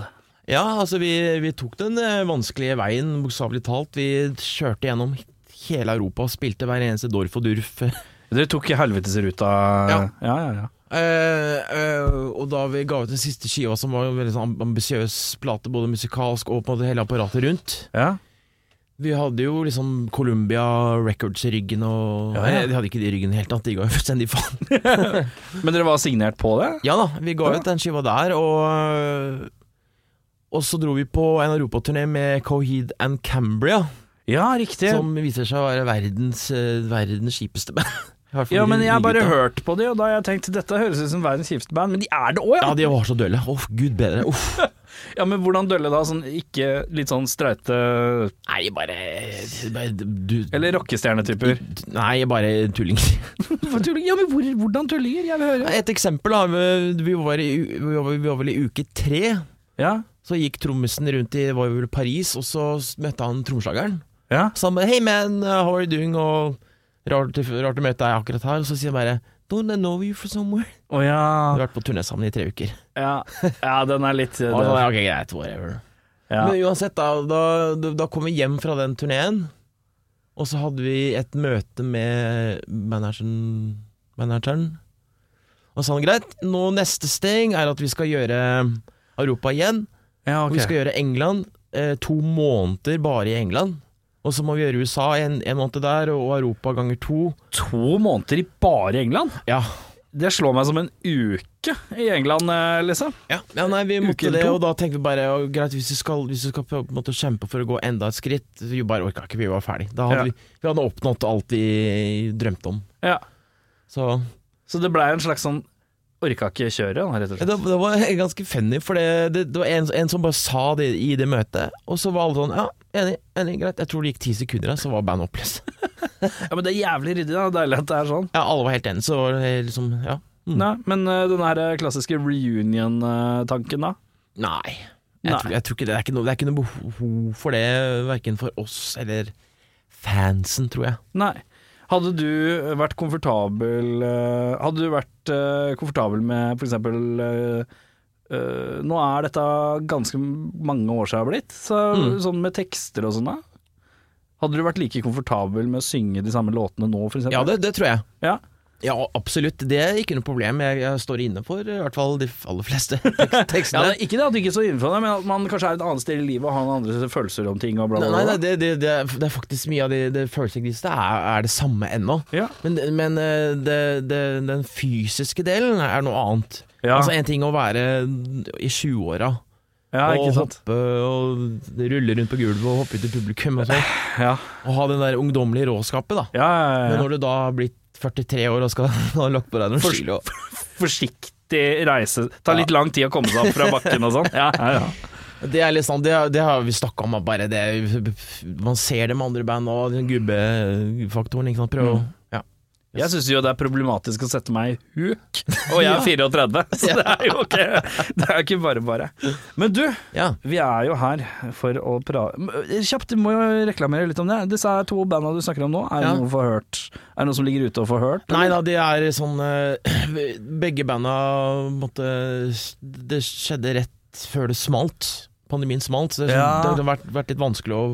[SPEAKER 2] Ja, altså vi, vi tok den eh, vanskelige veien, bokstavelig talt. Vi kjørte gjennom hele Europa og spilte hver eneste Dorf og Durf. Eh,
[SPEAKER 1] Dere tok helvetesruta
[SPEAKER 2] Ja.
[SPEAKER 1] ja, ja. ja.
[SPEAKER 2] eh, og da vi ga ut den siste skiva, som var en veldig sånn ambisiøs plate, både musikalsk og på en måte hele apparatet rundt
[SPEAKER 1] ja.
[SPEAKER 2] Vi hadde jo liksom Columbia Records i ryggen og
[SPEAKER 1] Ja, ja.
[SPEAKER 2] Nei, de hadde ikke det i ryggen i det hele tatt, de ga jo fullstendig faen.
[SPEAKER 1] Men dere var signert på det?
[SPEAKER 2] Ja da, vi ga ut den skiva der, og eh, Og så dro vi på en europaturné med Coheed and Cambria.
[SPEAKER 1] Ja, riktig.
[SPEAKER 2] Som viser seg å være verdens, eh, verdens kjipeste band. I hvert fall
[SPEAKER 1] ja, men
[SPEAKER 2] de-
[SPEAKER 1] jeg har
[SPEAKER 2] de
[SPEAKER 1] bare
[SPEAKER 2] gutta.
[SPEAKER 1] hørt på de, og da har jeg tenkt dette høres ut som verdens kjipeste band, men de er det òg, ja.
[SPEAKER 2] Ja, de var så dølle. Å, gud bedre. Uff.
[SPEAKER 1] ja! Men hvordan dølle da? Sånn ikke litt sånn streite
[SPEAKER 2] Nei, bare, bare du,
[SPEAKER 1] Eller rockestjernetyper?
[SPEAKER 2] Nei, bare tullinger.
[SPEAKER 1] Ja, men hvor, hvordan tullinger? Jeg vil høre.
[SPEAKER 2] Et eksempel, da. Vi var, i, u- vi var, vi var vel i uke tre.
[SPEAKER 1] Ja,
[SPEAKER 2] Så gikk trommisen rundt i var vel Paris, og så møtte han tromslageren.
[SPEAKER 1] ja.
[SPEAKER 2] Så han bare 'Hey man, uh, how are you doing?' og rart, 'Rart å møte deg akkurat her.' Og så sier han bare 'Don't I know you from somewhere?'
[SPEAKER 1] Å ja.
[SPEAKER 2] Vi har vært på turné sammen i tre uker.
[SPEAKER 1] ja. Ja, den er litt
[SPEAKER 2] Og så, ja, ok, greit, whatever
[SPEAKER 1] ja.
[SPEAKER 2] Men uansett, da, da, da- da kom vi hjem fra den turneen, og så hadde vi et møte med manageren, manageren. Og så sa han greit, nå neste steg er at vi skal gjøre Europa igjen.
[SPEAKER 1] ja ok.
[SPEAKER 2] Og vi skal gjøre England eh, to måneder bare i England. Og så må vi gjøre USA en, en måned der, og Europa ganger to.
[SPEAKER 1] To måneder i bare England?
[SPEAKER 2] Ja,
[SPEAKER 1] Det slår meg som en uke i England, eh, liksom.
[SPEAKER 2] Ja, nei, vi måtte
[SPEAKER 1] Uke eller
[SPEAKER 2] det,
[SPEAKER 1] to.
[SPEAKER 2] og da tenkte vi bare ja, Greit, hvis vi skal, hvis vi skal på en måte kjempe for å gå enda et skritt Vi bare orka ikke, vi var ferdig Da hadde
[SPEAKER 1] Ja.
[SPEAKER 2] vi, vi hadde oppnådd alt vi drømte om
[SPEAKER 1] Ja.
[SPEAKER 2] Så
[SPEAKER 1] Så det blei en slags sånn Orka ikke kjøre, da, rett og
[SPEAKER 2] ja,
[SPEAKER 1] slett.
[SPEAKER 2] det, det var ganske funny For det, det, det var en, en som bare sa det i det møtet Og så var alle sånn, ja, enig, enig, greit Jeg tror det gikk ti sekunder da, så var bandet oppløst
[SPEAKER 1] Ja, Men det er jævlig ryddig. da, Deilig at det er sånn.
[SPEAKER 2] Ja, alle var helt enige, så var det liksom, ja Mm.
[SPEAKER 1] Nei, men eh, den her eh, klassiske reunion-tanken, da?
[SPEAKER 2] Nei jeg
[SPEAKER 1] Nei.
[SPEAKER 2] tror, jeg tror ikke det, det er ikke, noe, det er ikke noe behov for det Hverken for oss eller fansen, tror jeg
[SPEAKER 1] Nei. Hadde du vært komfortabel eh, Hadde du vært eh, komfortabel med f.eks. eh, Nå er dette ganske mange år siden det har blitt, så,
[SPEAKER 2] Mm.
[SPEAKER 1] sånn med tekster og sånn da. Hadde du vært like komfortabel med å synge de samme låtene nå, f.eks.?
[SPEAKER 2] Ja, det, det tror jeg.
[SPEAKER 1] Ja.
[SPEAKER 2] Ja, absolutt. Det er ikke noe problem. Jeg, jeg står inne for i hvert fall de aller fleste tek-
[SPEAKER 1] Ja,
[SPEAKER 2] tekstene.
[SPEAKER 1] det, ikke det at du ikke står innenfor det, men at man kanskje er et annet sted i livet og har noen andre følelser om ting og bla, bla,
[SPEAKER 2] Nei,
[SPEAKER 1] bla.
[SPEAKER 2] nei det, det, det, er- det er faktisk mye av det, det følelsesregisteret er, er det samme ennå.
[SPEAKER 1] Ja.
[SPEAKER 2] Men, men eh, det, det, den fysiske delen er noe annet.
[SPEAKER 1] Ja,
[SPEAKER 2] Altså En ting å være i 20-åra
[SPEAKER 1] ja,
[SPEAKER 2] og
[SPEAKER 1] ikke sant.
[SPEAKER 2] hoppe og rulle rundt på gulvet og hoppe ut i publikum og sånn.
[SPEAKER 1] Ja.
[SPEAKER 2] Og ha den der ungdommelige råskapet, da.
[SPEAKER 1] Ja, ja,
[SPEAKER 2] Men
[SPEAKER 1] ja, ja.
[SPEAKER 2] når du da har blitt 43 år og skal ha lagt på deg noen
[SPEAKER 1] For-
[SPEAKER 2] skylder og
[SPEAKER 1] Forsiktig reise. Tar litt lang tid å komme seg opp fra bakken og sånn. Ja, ja, ja.
[SPEAKER 2] Det er litt sånn, det, det har vi snakka om, at bare det Man ser det med andre band og den gubbefaktoren, ikke sant. Prøv
[SPEAKER 1] Mm.
[SPEAKER 2] å ja.
[SPEAKER 1] Jeg syns jo det er problematisk å sette meg i huk, og jeg er 34, så det er jo ikke, det er ikke bare bare. Men du,
[SPEAKER 2] ja.
[SPEAKER 1] vi er jo her for å prate Kjapt, du må jo reklamere litt om det. Disse her to banda du snakker om nå, er det
[SPEAKER 2] Ja.
[SPEAKER 1] noe for hørt? Er det noe som ligger ute og får hørt?
[SPEAKER 2] Nei da, det er sånn eh, Begge banda måtte Det skjedde rett før det smalt. Pandemien smalt, så det, er sånn,
[SPEAKER 1] Ja.
[SPEAKER 2] det har vært, vært litt vanskelig å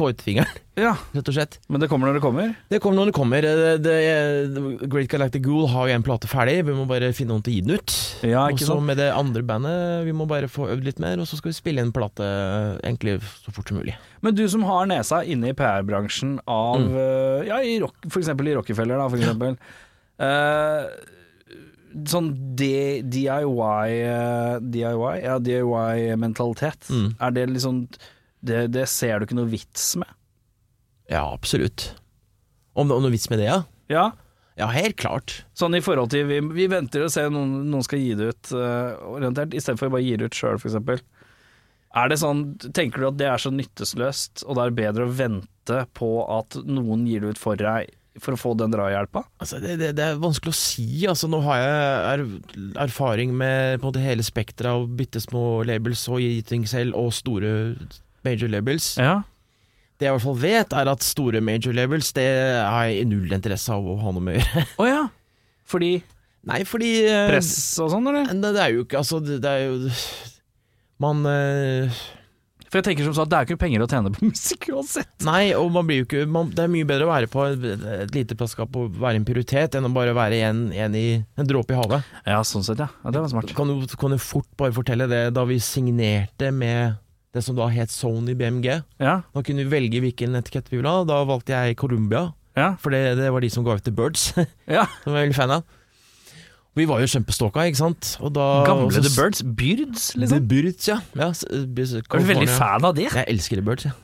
[SPEAKER 2] Få ut fingeren,
[SPEAKER 1] Ja,
[SPEAKER 2] rett og slett.
[SPEAKER 1] Men det kommer når det kommer.
[SPEAKER 2] Det kommer når det kommer. Eh, Det, det, Great Galactic Ghoul har jo en plate ferdig, vi må bare finne noen til å gi den ut.
[SPEAKER 1] Ja,
[SPEAKER 2] og
[SPEAKER 1] ikke
[SPEAKER 2] så
[SPEAKER 1] sant?
[SPEAKER 2] med det andre bandet, vi må bare få øvd litt mer, og så skal vi spille inn plate egentlig så fort som mulig.
[SPEAKER 1] Men du som har nesa inne i PR-bransjen av eh, Ja, i rock, for eksempel i Rockefeller, da, for eksempel. Eh, sånn D DIY eh, DIY? Ja, DIY-mentalitet.
[SPEAKER 2] Mm.
[SPEAKER 1] Er det liksom det, det ser du ikke noe vits med?
[SPEAKER 2] Ja, absolutt. Om det er noe vits med det, ja?
[SPEAKER 1] Ja.
[SPEAKER 2] Ja, helt klart.
[SPEAKER 1] Sånn i forhold til Vi, vi venter og ser om noen, noen skal gi det ut, uh, orientert, istedenfor bare å gi det ut sjøl, f.eks. Er det sånn, tenker du at det er så nyttesløst, og det er bedre å vente på at noen gir det ut for deg, for å få den drahjelpa?
[SPEAKER 2] Altså, det, det, det er vanskelig å si. Altså, nå har jeg er, erfaring med på en måte, hele spekteret av bitte små labels og gi ting selv, og store major labels.
[SPEAKER 1] Ja.
[SPEAKER 2] Det jeg i hvert fall vet, er at store major labels Det har jeg null interesse av å ha noe med å gjøre.
[SPEAKER 1] Å ja. Fordi
[SPEAKER 2] Nei, fordi eh,
[SPEAKER 1] press og sånn, eller?
[SPEAKER 2] Nei, det er jo ikke Altså, det, det er jo Man eh,
[SPEAKER 1] For jeg tenker som sagt, det er ikke penger å tjene på musikk uansett.
[SPEAKER 2] Nei, og man blir jo ikke man, Det er mye bedre å være på et, et lite plaskap og være en prioritet enn å bare være en, en, i, en dråpe i havet.
[SPEAKER 1] Ja, sånn sett, ja. ja det var smart.
[SPEAKER 2] Kan du, kan du fort bare fortelle det da vi signerte med det som da het Sony BMG?
[SPEAKER 1] Ja,
[SPEAKER 2] Da kunne vi velge hvilken etikett vi ville ha. Da valgte jeg Columbia,
[SPEAKER 1] ja,
[SPEAKER 2] for det, det var de som ga ut The Birds.
[SPEAKER 1] ja.
[SPEAKER 2] Som jeg er veldig fan av. Vi var jo kjempeståka, ikke sant? Og da, og så-
[SPEAKER 1] Birds? Byrds, liksom.
[SPEAKER 2] The Birds, ja. ja s- Birds, California.
[SPEAKER 1] fan av det?
[SPEAKER 2] Jeg elsker The Birds, ja.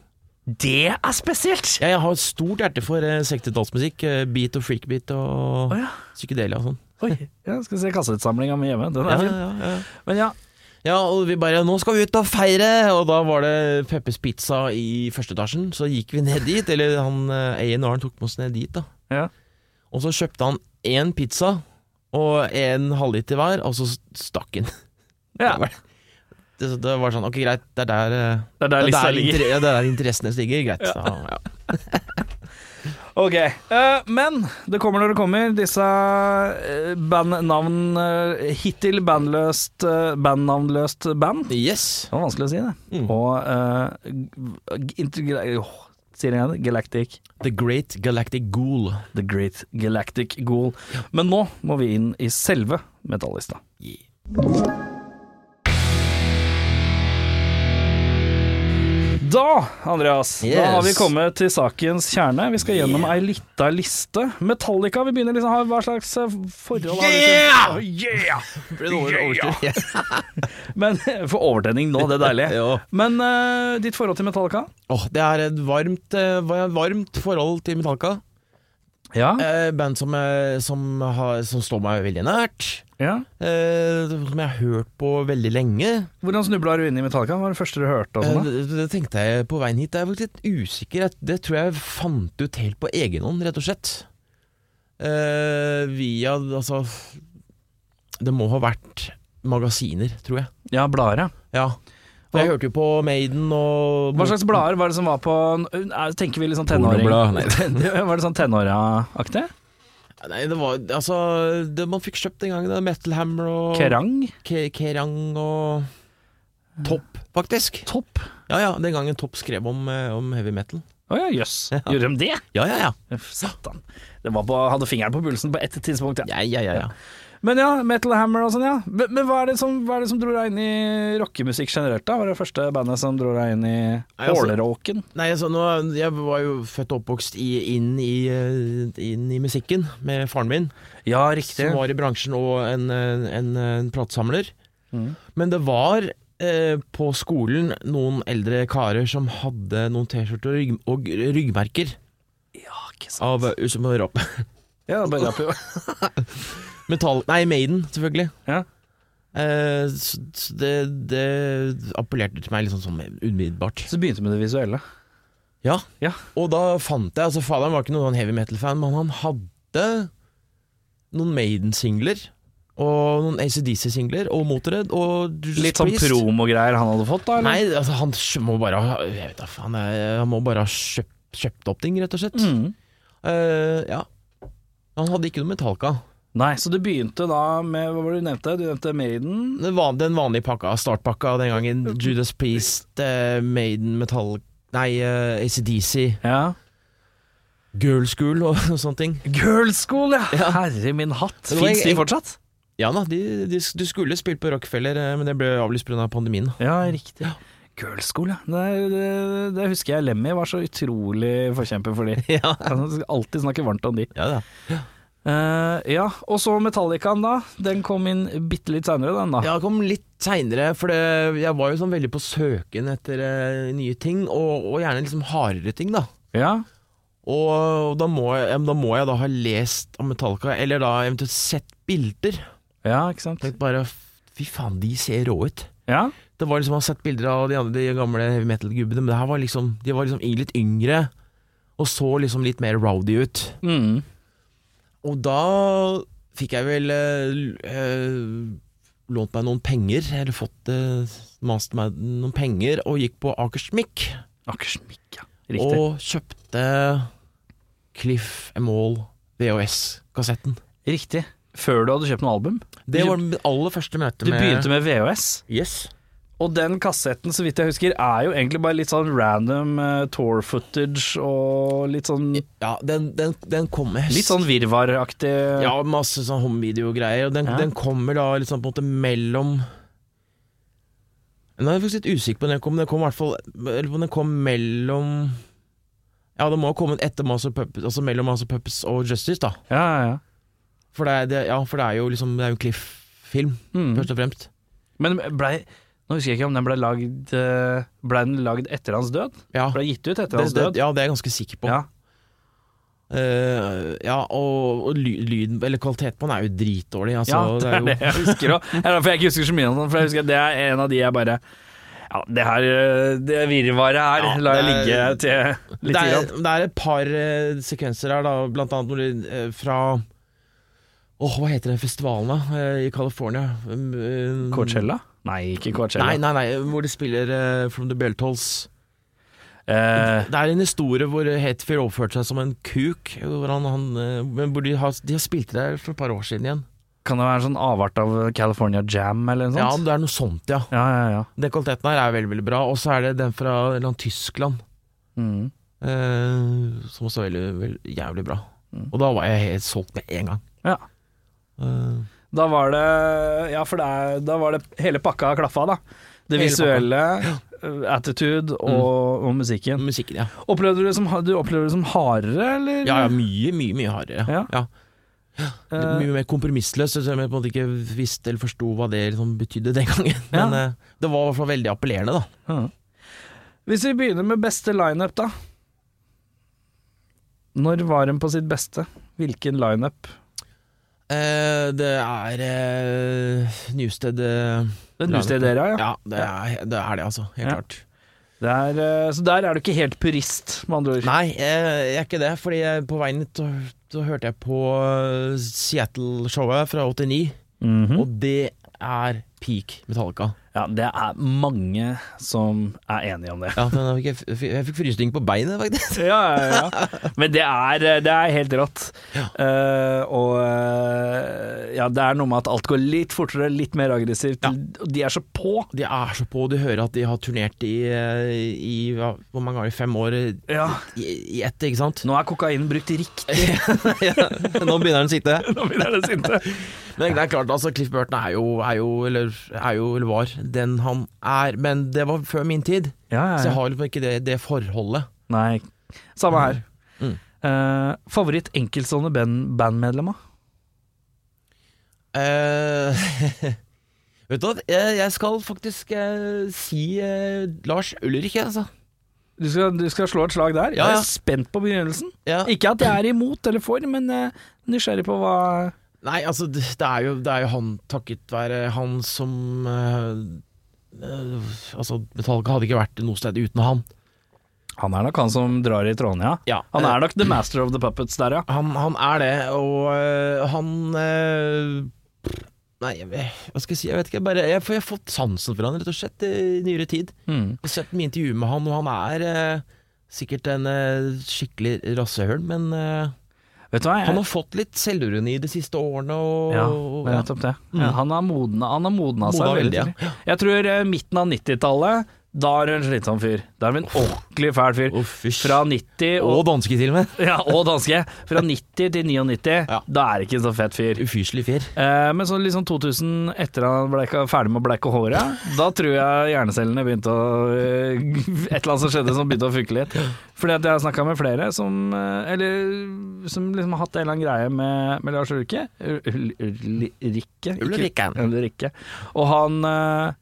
[SPEAKER 1] Det er spesielt!
[SPEAKER 2] Jeg har et stort hjerte for eh, 60-tallsmusikk. eh, Beat og freakbeat og
[SPEAKER 1] Å ja.
[SPEAKER 2] psykedelia og sånn.
[SPEAKER 1] Oi, ja, skal se kasseutsamlinga mi hjemme. Den er
[SPEAKER 2] Ja,
[SPEAKER 1] fin.
[SPEAKER 2] ja, ja.
[SPEAKER 1] Men ja,
[SPEAKER 2] ja, og vi bare 'nå skal vi ut og feire', og da var det Peppers Pizza i første etasjen. Så gikk vi ned dit, eller han eh, A&R-en tok med oss ned dit, da.
[SPEAKER 1] Ja.
[SPEAKER 2] Og så kjøpte han én pizza og en halvliter hver, og så stakk han. Det, var, det, det var sånn, ok greit, det er der, eh,
[SPEAKER 1] Det er
[SPEAKER 2] det
[SPEAKER 1] der
[SPEAKER 2] er
[SPEAKER 1] lista
[SPEAKER 2] der,
[SPEAKER 1] ligger.
[SPEAKER 2] inter, ja, det er der interessene stiger, greit. Da, ja.
[SPEAKER 1] Ok, eh, Men det kommer når det kommer. Disse eh, bandnavn eh, Hittil bandløst eh, bandnavnløst band.
[SPEAKER 2] Yes.
[SPEAKER 1] Det var vanskelig å si, det.
[SPEAKER 2] Mm.
[SPEAKER 1] Og eh, g- intergala- åh, Sier jeg det? Galactic.
[SPEAKER 2] The Great Galactic Ghoul.
[SPEAKER 1] The Great Galactic Goal. Men nå må vi inn i selve metallista. Da, Andreas, da
[SPEAKER 2] Yes.
[SPEAKER 1] har vi kommet til sakens kjerne. Vi skal gjennom ei lita liste. Metallica, vi begynner liksom å ha hva slags eh, forhold har
[SPEAKER 2] Yeah!
[SPEAKER 1] vi til Yeah!
[SPEAKER 2] Ble det over, overstyrt?
[SPEAKER 1] Men For overtenning nå, det er deilig.
[SPEAKER 2] Ja.
[SPEAKER 1] Men eh, ditt forhold til Metallica?
[SPEAKER 2] Åh, det er et varmt, eh, var- varmt forhold til Metallica.
[SPEAKER 1] Ja.
[SPEAKER 2] Eh, band som, eh, som, har, som står meg veldig nært.
[SPEAKER 1] ja.
[SPEAKER 2] Eh, som jeg har hørt på veldig lenge.
[SPEAKER 1] Hvordan snubla du inn i Metallica? Hva var det første du hørte? og
[SPEAKER 2] Eh,
[SPEAKER 1] sånn da?
[SPEAKER 2] det, det tenkte jeg på veien hit. Jeg er faktisk litt usikker. Jeg- Det tror jeg fant ut helt på egen hånd, rett og slett. Eh, via Altså Det må ha vært magasiner, tror jeg.
[SPEAKER 1] Ja, blader, ja.
[SPEAKER 2] Ja. For jeg hørte jo på Maiden og
[SPEAKER 1] Hva slags blader var det som var på er- Tenker vi litt sånn tenåring?
[SPEAKER 2] Pornoblad, nei.
[SPEAKER 1] var det sånn tenåra-aktig?
[SPEAKER 2] Nei, det var altså det Man fikk kjøpt den gangen. det, Metal Hammer og
[SPEAKER 1] Kerrang?
[SPEAKER 2] Ke- Kerrang og Topp, faktisk.
[SPEAKER 1] Topp?
[SPEAKER 2] Ja ja, den gangen Topp skrev om, eh, om heavy metal.
[SPEAKER 1] Å ja, jøss.
[SPEAKER 2] Ja.
[SPEAKER 1] Gjorde de det?
[SPEAKER 2] Ja ja ja.
[SPEAKER 1] Uff, Satan. Det var på, hadde fingeren på pulsen på ett tidspunkt, ja.
[SPEAKER 2] Ja ja ja. ja.
[SPEAKER 1] Men ja, Metal Hammer og sånn, ja. Men, men hva, er det som, hva er det som dro deg inn i rockemusikk generelt, da? Var det første bandet som dro deg inn i
[SPEAKER 2] Nei, altså-
[SPEAKER 1] Åleråken?
[SPEAKER 2] Nei, altså, nå, jeg var jo født og oppvokst i, inn, i, eh, inn i musikken med faren min,
[SPEAKER 1] Ja,
[SPEAKER 2] som var i bransjen og en, eh, en, eh, en platesamler.
[SPEAKER 1] Mm.
[SPEAKER 2] Men det var eh, på skolen noen eldre karer som hadde noen T-skjorter og, rygg, og ryggmerker
[SPEAKER 1] Ja, ikke sant.
[SPEAKER 2] av eh, som hører opp.
[SPEAKER 1] Ja, bare rapp i
[SPEAKER 2] Metall... Nei, Maiden, selvfølgelig.
[SPEAKER 1] Ja.
[SPEAKER 2] Eh, så- så det, det appellerte til meg liksom sånn umiddelbart.
[SPEAKER 1] Så begynte vi med det visuelle.
[SPEAKER 2] Ja.
[SPEAKER 1] Ja.
[SPEAKER 2] Og da fant jeg Altså, faderen var ikke noen sånn heavy metal-fan, men han hadde noen Maiden-singler. Og noen ACDC-singler, og Motorhead, og Judas
[SPEAKER 1] Litt sånn
[SPEAKER 2] Priest.
[SPEAKER 1] promogreier han hadde fått, da? Eller?
[SPEAKER 2] Nei, altså, han kj- må bare ha Jeg vet da faen, jeg- han må bare ha kjøpt, kjøpt opp ting, rett og slett.
[SPEAKER 1] Mm.
[SPEAKER 2] Eh, ja. Han hadde ikke noe Metallica.
[SPEAKER 1] Nei, så det begynte da med Hva var det du nevnte? Du nevnte Maiden.
[SPEAKER 2] Den van- Den vanlige pakka, startpakka den gangen. Judas Priest, eh, Maiden, Metallica Nei, eh, ACDC,
[SPEAKER 1] Ja.
[SPEAKER 2] Girl School og sånne ting.
[SPEAKER 1] Girl school, ja! Herre min hatt.
[SPEAKER 2] det var
[SPEAKER 1] Fins de
[SPEAKER 2] en-
[SPEAKER 1] fortsatt?
[SPEAKER 2] Ja da, de, de, du skulle spilt på Rockefeller, eh, men det ble avlyst pga. Av pandemien.
[SPEAKER 1] Ja, riktig. Girl school, ja. Det, det, det husker jeg Lemmy var så utrolig forkjemper for de.
[SPEAKER 2] ja.
[SPEAKER 1] Han skal alltid snakke varmt om de.
[SPEAKER 2] ja da.
[SPEAKER 1] Eh, ja, og så Metallicaen, da. Den kom inn bitte litt seinere, den, da.
[SPEAKER 2] Jeg kom litt seinere, for det, jeg var jo sånn veldig på søken etter eh, nye ting, og, og gjerne liksom hardere ting, da.
[SPEAKER 1] Ja.
[SPEAKER 2] Og, og da, må jeg, ja, men da må jeg da ha lest om Metallica, eller da eventuelt sett bilder.
[SPEAKER 1] ja, ikke sant.
[SPEAKER 2] Tenk bare Fy faen, de ser rå ut.
[SPEAKER 1] Ja,
[SPEAKER 2] Det var liksom, Jeg har sett bilder av de andre de gamle heavy metal-gubbene, men det her var liksom, de var liksom litt yngre og så liksom litt mer rowdy ut.
[SPEAKER 1] mm.
[SPEAKER 2] Og da fikk jeg vel eh, l- eh, lånt meg noen penger, eller fått eh, mast meg noen penger, og gikk på Akersmik
[SPEAKER 1] Akersmikk, ja. Riktig.
[SPEAKER 2] og kjøpte Cliff Emall VHS-kassetten.
[SPEAKER 1] Riktig. Før du hadde kjøpt noe album.
[SPEAKER 2] Det
[SPEAKER 1] Du-
[SPEAKER 2] var mitt aller første møte
[SPEAKER 1] Du
[SPEAKER 2] med
[SPEAKER 1] begynte med VHS.
[SPEAKER 2] Yes.
[SPEAKER 1] Og den kassetten, så vidt jeg husker, er jo egentlig bare litt sånn random eh, tour footage og litt sånn
[SPEAKER 2] Ja, den, den, den kom jeg-
[SPEAKER 1] Litt sånn virvaraktig
[SPEAKER 2] Ja, masse sånn homevideo-greier. Og den,
[SPEAKER 1] Ja.
[SPEAKER 2] den kommer da liksom på en måte mellom Nå er jeg faktisk litt usikker på når den kom. men Den kom i hvert fall Eller den kom mellom Ja, det må ha kommet etter Master Puppets, altså mellom Master Puppets og Justice, da.
[SPEAKER 1] ja, ja.
[SPEAKER 2] For det er, det, ja, for det er jo liksom Det er jo en Cliff-film,
[SPEAKER 1] Mm.
[SPEAKER 2] først og fremst.
[SPEAKER 1] Men blei Nå husker jeg ikke om den blei lagd eh, Blei den lagd etter hans død?
[SPEAKER 2] Ja,
[SPEAKER 1] Blei gitt ut etter
[SPEAKER 2] det,
[SPEAKER 1] hans
[SPEAKER 2] det,
[SPEAKER 1] død?
[SPEAKER 2] ja, det er jeg ganske sikker på.
[SPEAKER 1] Ja.
[SPEAKER 2] Eh, ja og, og ly- lyden, eller kvaliteten på den, er jo dritdårlig. Altså,
[SPEAKER 1] ja, det er
[SPEAKER 2] jo-
[SPEAKER 1] det jeg husker òg. Det er derfor jeg ikke husker så mye om den. For jeg husker at det er en av de jeg bare Ja, det her eh, Det virvaret her
[SPEAKER 2] Ja,
[SPEAKER 1] lar jeg
[SPEAKER 2] det
[SPEAKER 1] ligge
[SPEAKER 2] er-
[SPEAKER 1] til litt
[SPEAKER 2] det,
[SPEAKER 1] grann.
[SPEAKER 2] er, det er et par eh, sekvenser her, da, blant annet når de, eh, fra Åh, hva heter den festivalen da, eh, i California? Um, um,
[SPEAKER 1] Coachella? Nei, ikke Coachella.
[SPEAKER 2] Nei, nei, nei, hvor de spiller eh, From the Belltolls.
[SPEAKER 1] Eh,
[SPEAKER 2] Det er en historie hvor Hetfield oppførte seg som en kuk. Hvor han, han, eh, men hvor de, har, de har spilt det der for et par år siden igjen.
[SPEAKER 1] kan det være en sånn avart av California Jam eller noe
[SPEAKER 2] Ja,
[SPEAKER 1] sånt?
[SPEAKER 2] det er noe sånt, ja.
[SPEAKER 1] Ja, ja, ja.
[SPEAKER 2] Den kvaliteten her er veldig veldig bra. Og så er det den fra et eller annet Tyskland,
[SPEAKER 1] Mm.
[SPEAKER 2] eh, som også er veldig, veldig jævlig bra.
[SPEAKER 1] Mm.
[SPEAKER 2] Og da var jeg helt solgt med en gang.
[SPEAKER 1] Ja.
[SPEAKER 2] Eh,
[SPEAKER 1] Da var det Ja, for det er, da var det hele pakka klaffa, da. Det
[SPEAKER 2] Hele Mm.
[SPEAKER 1] visuelle, eh, attitude og, og musikken.
[SPEAKER 2] musikken, ja.
[SPEAKER 1] Opplevde du det som, ha- du opplevde det som hardere, eller?
[SPEAKER 2] Ja, ja, mye, mye mye hardere.
[SPEAKER 1] Ja.
[SPEAKER 2] Ja.
[SPEAKER 1] Eh,
[SPEAKER 2] Mye mer kompromissløs, så jeg på en måte ikke visste eller forsto hva det liksom betydde den gangen.
[SPEAKER 1] Ja.
[SPEAKER 2] Men eh, det var i hvert fall veldig appellerende, da.
[SPEAKER 1] ja. Hvis vi begynner med beste lineup, da. Når var hun på sitt beste? Hvilken lineup?
[SPEAKER 2] Eh, det er uh, Newsted eh,
[SPEAKER 1] Den du studerer, ja.
[SPEAKER 2] Ja, det er, det er det, altså. Helt
[SPEAKER 1] Ja.
[SPEAKER 2] klart.
[SPEAKER 1] Det er, eh, så der er du ikke helt purist, med andre ord.
[SPEAKER 2] Nei, eh, jeg er ikke det, fordi jeg, på veien hit så- så hørte jeg på eh, Seattle-showet fra 89,
[SPEAKER 1] Mhm.
[SPEAKER 2] og det er peak Metallica.
[SPEAKER 1] Ja, det er mange som er enige om det.
[SPEAKER 2] Ja, den fikk jeg, f- jeg fikk frysning på beinet, faktisk.
[SPEAKER 1] ja, ja, ja. Men det er, eh, det er helt rått.
[SPEAKER 2] Ja.
[SPEAKER 1] Eh, og eh, ja, det er noe med at alt går litt fortere, litt mer aggressivt.
[SPEAKER 2] Ja.
[SPEAKER 1] Og De er så på.
[SPEAKER 2] De er så på, du hører at de har turnert i, eh, i hva, hvor mange ganger, fem år eh, i, i ett, ikke sant?
[SPEAKER 1] Nå er kokainen brukt riktig.
[SPEAKER 2] Nå begynner den å sitte.
[SPEAKER 1] Nå begynner det sinte.
[SPEAKER 2] Men det er klart, altså, Cliff Burton er jo, er jo, eller, er jo, eller var, den han er. Men det var før min tid,
[SPEAKER 1] Ja, ja,
[SPEAKER 2] så
[SPEAKER 1] ja.
[SPEAKER 2] jeg har liksom ikke det, det forholdet.
[SPEAKER 1] Nei. Samme her.
[SPEAKER 2] Mm.
[SPEAKER 1] Eh, favoritt enkeltstående band bandmedlem, da?
[SPEAKER 2] Eh, vet du hva, jeg, jeg skal faktisk eh, si eh, Lars Ulrik, jeg, altså.
[SPEAKER 1] Du skal, du skal slå et slag der?
[SPEAKER 2] Ja,
[SPEAKER 1] Jeg
[SPEAKER 2] ja.
[SPEAKER 1] er spent på begynnelsen.
[SPEAKER 2] Ja.
[SPEAKER 1] Ikke at jeg er imot eller for, men eh, nysgjerrig på hva
[SPEAKER 2] Nei, altså det det er, jo, det er jo han takket være han som eh, eh, Altså Metallica hadde ikke vært noe sted uten han.
[SPEAKER 1] Han er nok han som drar i trådene, ja.
[SPEAKER 2] Ja,
[SPEAKER 1] Han er nok the master of the puppets der, ja.
[SPEAKER 2] Eh, han, han er det, og eh, han eh, Nei, jeg, vet- hva skal jeg si, jeg vet ikke. Jeg, bare, jeg, for jeg har fått sansen for han rett og slett i nyere tid.
[SPEAKER 1] Mm.
[SPEAKER 2] Jeg har sett mye intervju med han, og han er eh, sikkert en eh, skikkelig rassehøl, men eh,
[SPEAKER 1] Vet du hva, jeg,
[SPEAKER 2] han har fått litt selvironi de siste årene, og
[SPEAKER 1] ja,
[SPEAKER 2] og-
[SPEAKER 1] det er nettopp det.
[SPEAKER 2] Mm.
[SPEAKER 1] Han har modna, han har modna seg
[SPEAKER 2] Modna
[SPEAKER 1] veldig.
[SPEAKER 2] veldig, ja.
[SPEAKER 1] tidlig. Jeg tror eh, midten av 90-tallet, Da er du en slitsom fyr. Da er du en ordentlig fæl fyr.
[SPEAKER 2] Å, fysj.
[SPEAKER 1] Fra 90
[SPEAKER 2] Og
[SPEAKER 1] og,
[SPEAKER 2] danske til og med.
[SPEAKER 1] ja, og danske. Fra 90 til 99,
[SPEAKER 2] Ja.
[SPEAKER 1] da er det ikke en så fett fyr.
[SPEAKER 2] Ufyselig fyr.
[SPEAKER 1] Eh, men sånn liksom 2000, etter han bleika, ferdig med å bleike håret, da tror jeg hjernecellene begynte å eh, Et eller annet som skjedde som begynte å funke litt. Fordi at jeg har snakka med flere som eh, Eller som liksom har hatt en eller annen greie med, med Lars Ulrikke. Ulrikke?
[SPEAKER 2] Ulrikke.
[SPEAKER 1] Ulrikke. Og han eh,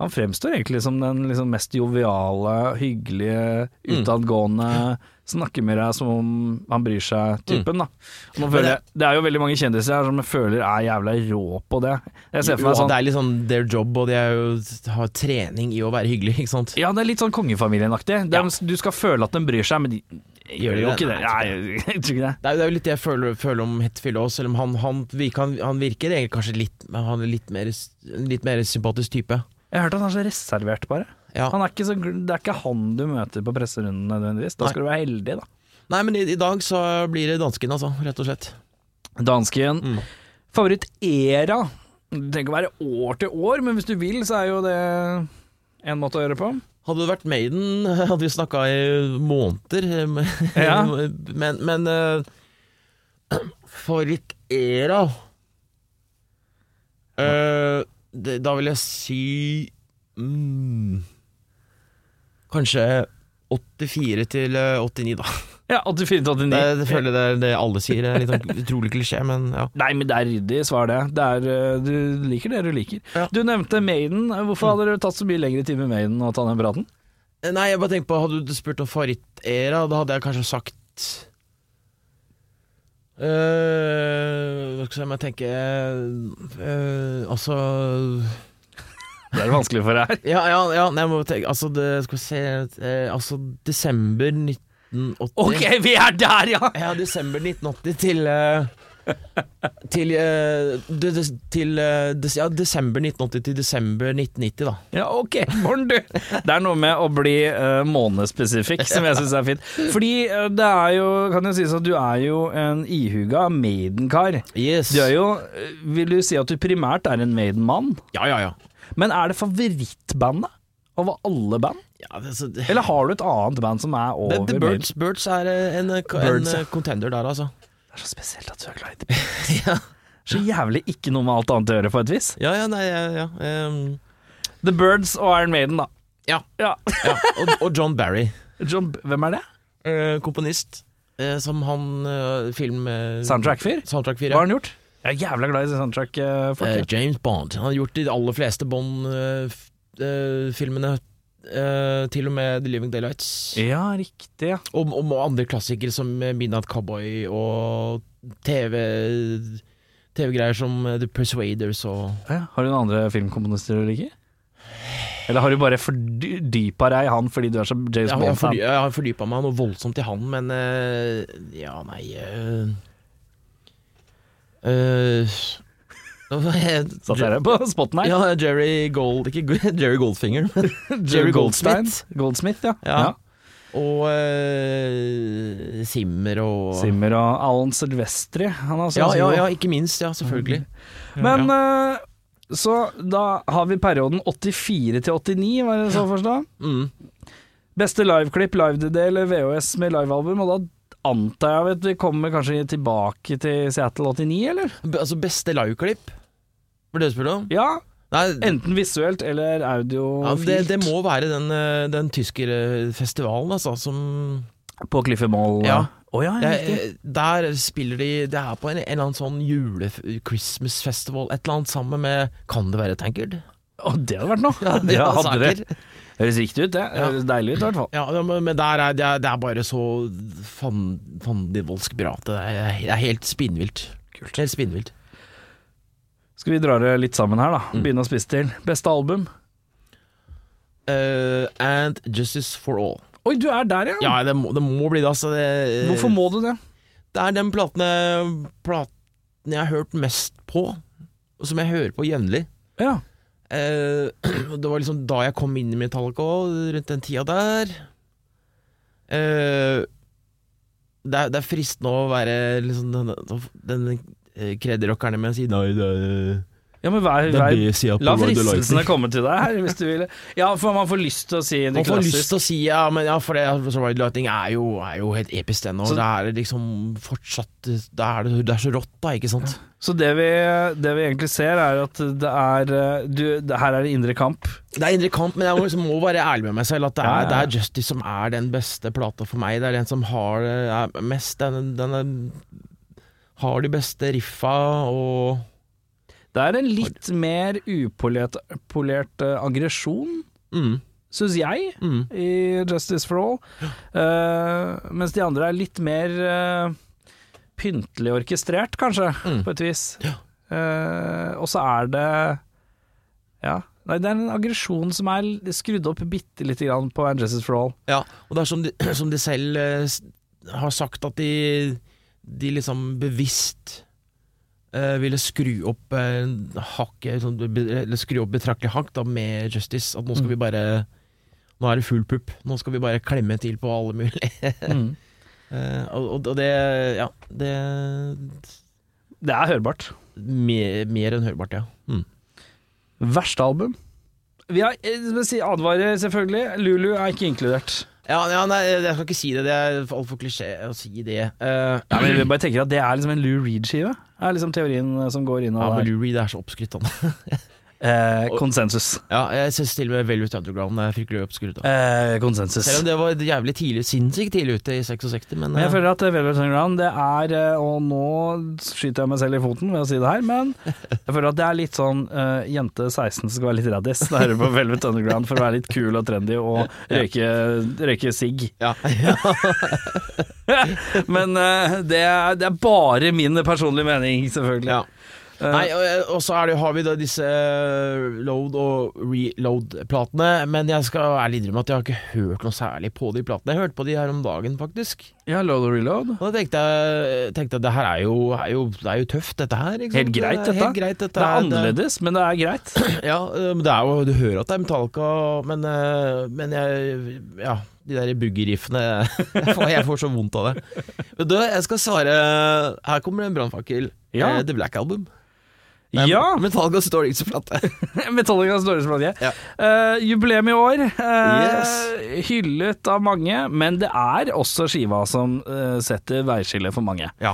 [SPEAKER 1] han fremstår egentlig som den liksom mest joviale, hyggelige, utadgående Snakker med deg som om han bryr seg-typen, da. Og Nå
[SPEAKER 2] Men
[SPEAKER 1] føler
[SPEAKER 2] det-
[SPEAKER 1] jeg, det er jo veldig mange kjendiser her som jeg føler er jævla rå på det. Jeg ser for
[SPEAKER 2] Jo,
[SPEAKER 1] meg sånn
[SPEAKER 2] Det er litt sånn their job, og de er jo, har trening i å være hyggelig, ikke sant?
[SPEAKER 1] Ja, det er litt sånn kongefamilien-aktig. Det er- Du skal føle at den bryr seg, men de gjør jo
[SPEAKER 2] det?
[SPEAKER 1] ikke det.
[SPEAKER 2] Nei,
[SPEAKER 1] Nei, jeg tror ikke det.
[SPEAKER 2] Det er, det er jo litt det jeg føler, føler om Hetfield òg, selv om han, han, virker, han, han virker egentlig kanskje litt men Han er litt mer, en litt mer sympatisk type.
[SPEAKER 1] Jeg hørte at han er så reservert, bare.
[SPEAKER 2] Ja.
[SPEAKER 1] Han er ikke så, gl- det er ikke han du møter på presserunden nødvendigvis. Da
[SPEAKER 2] Nei.
[SPEAKER 1] skal du være heldig, da.
[SPEAKER 2] Nei, men i, i dag så blir det dansken, altså, rett og slett.
[SPEAKER 1] Dansken.
[SPEAKER 2] Mm.
[SPEAKER 1] Favoritt-era. Det trenger ikke å være år til år, men hvis du vil, så er jo det en måte å gjøre det på.
[SPEAKER 2] Hadde det vært Maiden, hadde vi snakka i måneder. eh,
[SPEAKER 1] Ja.
[SPEAKER 2] Men, men eh, Favorittera Eh, det, Da vil jeg si mm, Kanskje 84 til eh, 89, da.
[SPEAKER 1] Ja, 84 til
[SPEAKER 2] Det,
[SPEAKER 1] 89.
[SPEAKER 2] det føler jeg det er det alle sier. Det er litt sånn utrolig klisjé, men ja.
[SPEAKER 1] Nei, men det er ryddig svar, det. det er, eh, du liker det du liker.
[SPEAKER 2] Ja.
[SPEAKER 1] Du nevnte Maiden. Hvorfor hadde det tatt så mye lengre tid med Maiden å ta den praten?
[SPEAKER 2] Eh, Nei, jeg bare tenkte på Hadde du spurt om favorittera, da hadde jeg kanskje sagt øh, Hva skal jeg si, må jeg tenke øh, Altså
[SPEAKER 1] Det er vanskelig for deg.
[SPEAKER 2] Ja, ja, ja nei, jeg må tenke Altså, det, skal vi se eh, Altså, desember 1980
[SPEAKER 1] Ok, vi er der, ja!
[SPEAKER 2] Ja, desember 1980 til eh, Til, eh, de, de, til eh, des, Ja, desember 1980 til desember 1990, da.
[SPEAKER 1] Ja, ok, morgen du Det er noe med å bli eh, månedspesifikk Som jeg synes er fint Fordi eh, det er jo, kan jo sies at du er jo En ihuga Maiden-kar
[SPEAKER 2] Yes.
[SPEAKER 1] Du er jo, eh, vil du si at du primært er en Maiden-mann
[SPEAKER 2] Ja, ja, ja.
[SPEAKER 1] Men er det favorittbandet? Over alle band?
[SPEAKER 2] ja det, så, det,
[SPEAKER 1] Eller har du et annet band som er over
[SPEAKER 2] The, the
[SPEAKER 1] Maiden?
[SPEAKER 2] Birds, Birds er eh, en, eh, ko-
[SPEAKER 1] Birds,
[SPEAKER 2] en
[SPEAKER 1] ja.
[SPEAKER 2] eh, contender der, altså.
[SPEAKER 1] Det er så spesielt at du er glad i The Birds Så jævlig ikke noe med alt annet å gjøre på et vis
[SPEAKER 2] Ja, ja, nei, ja, ja. ehm,
[SPEAKER 1] The Birds og Iron Maiden da
[SPEAKER 2] Ja.
[SPEAKER 1] ja.
[SPEAKER 2] ja. Og, og John Barry,
[SPEAKER 1] John, hvem er det?
[SPEAKER 2] eh, komponist, eh, som han eh, film eh,
[SPEAKER 1] Soundtrack-fyr?
[SPEAKER 2] Soundtrack 4.
[SPEAKER 1] Hva har han gjort? Jeg er jævla glad i soundtrack-folket
[SPEAKER 2] Eh, James Bond. Han har gjort de aller fleste eh, Bond-filmene. eh, til og med The Living Daylights.
[SPEAKER 1] Ja, riktig. Ja.
[SPEAKER 2] Og, og andre klassikere som eh, Midnight Cowboy og TV TV-greier som eh, The Persuaders og
[SPEAKER 1] Har du noen andre filmkomponister du liker? Eller har du bare fordypa deg i han fordi du er så James
[SPEAKER 2] Jeg har- jeg har
[SPEAKER 1] Bond-fan?
[SPEAKER 2] fordy- Jeg har fordypa meg noe voldsomt i han, men eh, Ja, nei eh, eh, nå var jeg-
[SPEAKER 1] Satt dere på spotten her?
[SPEAKER 2] Ja, Jerry Gold Ikke G- Jerry Goldfinger, men Jerry Goldsmith.
[SPEAKER 1] Goldsmith, ja.
[SPEAKER 2] Ja. Og eh, Simmer og
[SPEAKER 1] Simmer og Alan Silvestri. Han har også
[SPEAKER 2] ja,
[SPEAKER 1] ganske
[SPEAKER 2] ja,
[SPEAKER 1] god.
[SPEAKER 2] ja, ikke minst. Ja, selvfølgelig.
[SPEAKER 1] Men eh, så da har vi perioden 84 til 89, var det så å forstå?
[SPEAKER 2] Mm.
[SPEAKER 1] Beste liveklipp, live-DD eller VHS med livealbum, og da antar jeg at vi kommer kanskje tilbake til Seattle 89, eller?
[SPEAKER 2] B- Altså, beste liveklipp? Var det det du spurte om?
[SPEAKER 1] Ja,
[SPEAKER 2] Nei,
[SPEAKER 1] Enten visuelt eller
[SPEAKER 2] ja,
[SPEAKER 1] audiofilt.
[SPEAKER 2] det, det må være den, eh, den tyskerfestivalen, altså, som
[SPEAKER 1] På Cliffy Mall.
[SPEAKER 2] Ja.
[SPEAKER 1] Å ja, Eh,
[SPEAKER 2] Det,
[SPEAKER 1] riktig.
[SPEAKER 2] er- der spiller de Det er på en, en eller annen sånn jule-Christmas festival, et eller annet sammen med Kan det være Tankard?
[SPEAKER 1] Å, det hadde vært noe.
[SPEAKER 2] det
[SPEAKER 1] Ja,
[SPEAKER 2] var
[SPEAKER 1] hadde
[SPEAKER 2] saker.
[SPEAKER 1] det. Høres riktig ut, det. Høres deilig ut i hvert fall.
[SPEAKER 2] Ja, det- men der er det, er, det er bare så fan- fandenivoldsk bra at det er, det er helt spinnvilt. Kult. Helt spinnvilt.
[SPEAKER 1] Skal vi dra det litt sammen her,
[SPEAKER 2] Mm.
[SPEAKER 1] da. Begynne å spise til. Beste album?
[SPEAKER 2] Eh, and Justice for All.
[SPEAKER 1] Oi, du er der, ja.
[SPEAKER 2] Ja, det må, det må bli det, altså. Det,
[SPEAKER 1] Hvorfor må du det?
[SPEAKER 2] Det er den platene, platen jeg har hørt mest på, og som jeg hører på jevnlig.
[SPEAKER 1] Ja.
[SPEAKER 2] Eh, og det var liksom da jeg kom inn i Metallica også, rundt den tida der. Eh, det, er, det er fristende å være liksom den, den, den eh, kredderockerne med å si nei, det er,
[SPEAKER 1] Ja, men vær,
[SPEAKER 2] Det
[SPEAKER 1] vær,
[SPEAKER 2] blir siden på
[SPEAKER 1] la
[SPEAKER 2] hva du
[SPEAKER 1] fristelsene
[SPEAKER 2] liker.
[SPEAKER 1] komme til deg her, hvis du vil. Ja, for man får lyst til å si det
[SPEAKER 2] Man får lyst
[SPEAKER 1] klassisk.
[SPEAKER 2] til å si ja, men ja, for det, så Ride Lighting er jo, er jo helt episk ennå.
[SPEAKER 1] Så-
[SPEAKER 2] Det er liksom fortsatt Det er, det er så rått, da, ikke sant?
[SPEAKER 1] Så det vi, det vi egentlig ser, er at det er eh, du, det, Her er det indre kamp.
[SPEAKER 2] Det er indre kamp, men jeg må, liksom, må være ærlig med meg selv at det er,
[SPEAKER 1] Ja, ja.
[SPEAKER 2] det er Justice som er den beste plata for meg. Det er den som har det er mest. Den, den er, har de beste riffa og
[SPEAKER 1] Det er en litt mer upolert polert, eh, aggresjon,
[SPEAKER 2] mm,
[SPEAKER 1] syns jeg,
[SPEAKER 2] mm.
[SPEAKER 1] i Justice for All. Eh, mens de andre er litt mer eh, pyntelig orkestrert, kanskje,
[SPEAKER 2] Mm.
[SPEAKER 1] på et vis. Eh, og så er det Ja. Nei, det er en aggresjon som er l- skrudd opp bitte lite grann på And Justice for All.
[SPEAKER 2] Ja, og det er som de, som de selv eh, s- har sagt, at de, de liksom bevisst eh, ville skru opp eh, hakket sånn, be- Eller skru opp betraktelig hakk da, med Justice. At nå
[SPEAKER 1] Mm.
[SPEAKER 2] skal vi bare Nå er det full pupp. Nå skal vi bare klemme til på alle mulige
[SPEAKER 1] Mm.
[SPEAKER 2] eh, og, og- og det Ja, det
[SPEAKER 1] Det er hørbart.
[SPEAKER 2] Mer, mer enn hørbart, ja. Mm.
[SPEAKER 1] Verste album? Vi har, eh, skal vi si, advarer selvfølgelig. Lulu er ikke inkludert.
[SPEAKER 2] Ja, ja, nei, jeg skal ikke si det. Det er altfor klisjé å si det. Eh,
[SPEAKER 1] Ja, men vi bare tenker at Det er liksom en Lou Reed-skive. Det er liksom teorien eh, som går inn
[SPEAKER 2] ja,
[SPEAKER 1] og
[SPEAKER 2] men Lou Reed er så oppskrytt, han.
[SPEAKER 1] eh, Konsensus.
[SPEAKER 2] Ja, jeg syns til og med Velvet Underground er fryktelig oppskrytt.
[SPEAKER 1] Eh, konsensus.
[SPEAKER 2] Selv om det var jævlig tidlig, sinnssykt tidlig ute i 66, men,
[SPEAKER 1] Men jeg
[SPEAKER 2] eh,
[SPEAKER 1] føler at eh, Velvet Underground, det er eh, Og nå skyter jeg meg selv i foten ved å si det her, men jeg føler at det er litt sånn eh, jente 16 som skal være litt raddis når hun hører på Velvet Underground for å være litt kul og trendy og røyke, røyke sigg.
[SPEAKER 2] ja.
[SPEAKER 1] Men eh, det, er, det er bare min personlige mening, selvfølgelig.
[SPEAKER 2] Ja.
[SPEAKER 1] Eh,
[SPEAKER 2] Nei, og, og så er det, har vi da disse eh, load- og reload-platene, men jeg skal ærlig innrømme at jeg har ikke hørt noe særlig på de platene. Jeg hørte på de her om dagen, faktisk.
[SPEAKER 1] ja, load og reload.
[SPEAKER 2] Og da tenkte jeg, tenkte jeg det her er jo, er, jo, det er jo tøft, dette her. Ikke sant?
[SPEAKER 1] Helt greit,
[SPEAKER 2] Det er eh,
[SPEAKER 1] dette.
[SPEAKER 2] Helt greit, dette
[SPEAKER 1] Det er
[SPEAKER 2] her.
[SPEAKER 1] annerledes, men det er greit.
[SPEAKER 2] Ja, eh, men det er jo, du hører at det er Metallica, men, eh, men jeg, ja, de der boogie-riffene jeg, får- jeg får så vondt av det. Men du, jeg skal svare Her kommer det en brannfakkel.
[SPEAKER 1] Ja.
[SPEAKER 2] Eh, The Black Album. Nei,
[SPEAKER 1] Ja!
[SPEAKER 2] Metallica står ikke så flatt.
[SPEAKER 1] Metallicas dårligste plate.
[SPEAKER 2] Ja.
[SPEAKER 1] Eh, jubileum i år. eh,
[SPEAKER 2] Yes.
[SPEAKER 1] Hyllet av mange, men det er også skiva som eh, setter veiskillet for mange.
[SPEAKER 2] Ja.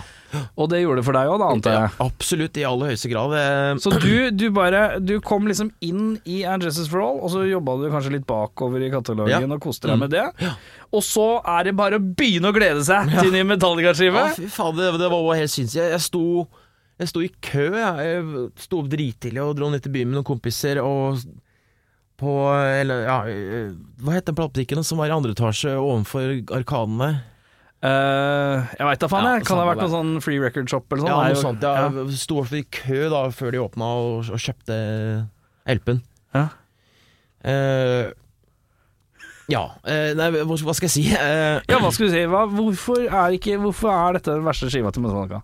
[SPEAKER 1] Og det gjorde det for deg òg, da, antar jeg.
[SPEAKER 2] Absolutt, i aller høyeste grad. Eh,
[SPEAKER 1] Så du, du bare Du kom liksom inn i And Justice for All, og så jobba du kanskje litt bakover i katalogen
[SPEAKER 2] Ja.
[SPEAKER 1] og koste deg med det. Og så er det bare å begynne å glede seg til ny Metallica-skive.
[SPEAKER 2] Ja, fy faen, det, det var jo helt sinnssykt. Jeg, jeg sto jeg sto i kø, jeg. jeg sto opp drittidlig og dro ned til byen med noen kompiser og på eller, ja, eh, Hva het den platebutikken som var i andre etasje ovenfor Arkanene?
[SPEAKER 1] Eh, jeg veit da faen,
[SPEAKER 2] Ja,
[SPEAKER 1] jeg. Kan det ha
[SPEAKER 2] samme
[SPEAKER 1] vært noen sånn free record shop eller sånn?
[SPEAKER 2] Ja,
[SPEAKER 1] Det er
[SPEAKER 2] noe
[SPEAKER 1] jo-
[SPEAKER 2] sånt. Ja. Jeg Sto i hvert fall i kø da før de åpna og, og kjøpte LP-en.
[SPEAKER 1] Ja.
[SPEAKER 2] Eh, ja. eh, nei, hva hva skal jeg si? Eh,
[SPEAKER 1] Ja, hva skulle du si? Hva, hvorfor, er ikke, hvorfor er dette den verste skiva til Metallica?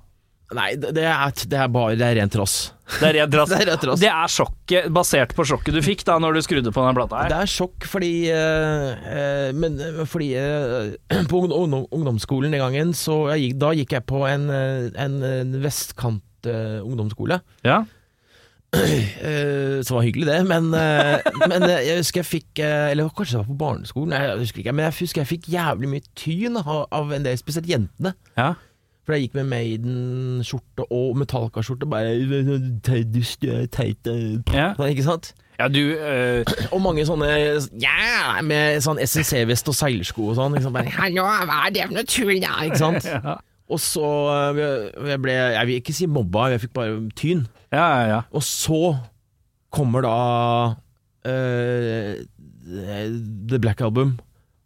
[SPEAKER 2] nei, det det er, det er bare Det er ren trass.
[SPEAKER 1] Altså, Det er,
[SPEAKER 2] Det er ren trass.
[SPEAKER 1] sjokket, basert på sjokket du fikk da når du skrudde på den plata her.
[SPEAKER 2] Det er sjokk fordi eh, eh, Men eh, fordi eh, På ungdom- ungdom, ungdomsskolen den gangen, så jeg gikk, da gikk jeg på en, eh, en, en vestkant eh, ungdomsskole.
[SPEAKER 1] Ja.
[SPEAKER 2] Eh, som var hyggelig, det, men, eh, men eh, jeg husker jeg fikk eh, Eller kanskje det var på barneskolen, jeg husker ikke, men jeg husker jeg fikk jævlig mye tyn av, av en del, spesielt jentene.
[SPEAKER 1] ja.
[SPEAKER 2] For jeg gikk med Maiden-skjorte og Metallica-skjorte, bare «Tei, du stø- teit eh».
[SPEAKER 1] Ja.
[SPEAKER 2] Sånn, Ikke sant?
[SPEAKER 1] du eh,
[SPEAKER 2] Og mange sånne ja, med sånn SNC-vest og seilersko og sånn. Liksom bare, Hallo, hva er det for noe tull der? Ikke sant? Og så øh, jeg ble Jeg vil ikke si mobba, jeg fikk bare tyn.
[SPEAKER 1] Ja, ja, ja.
[SPEAKER 2] Og så kommer da øh, The Black Album,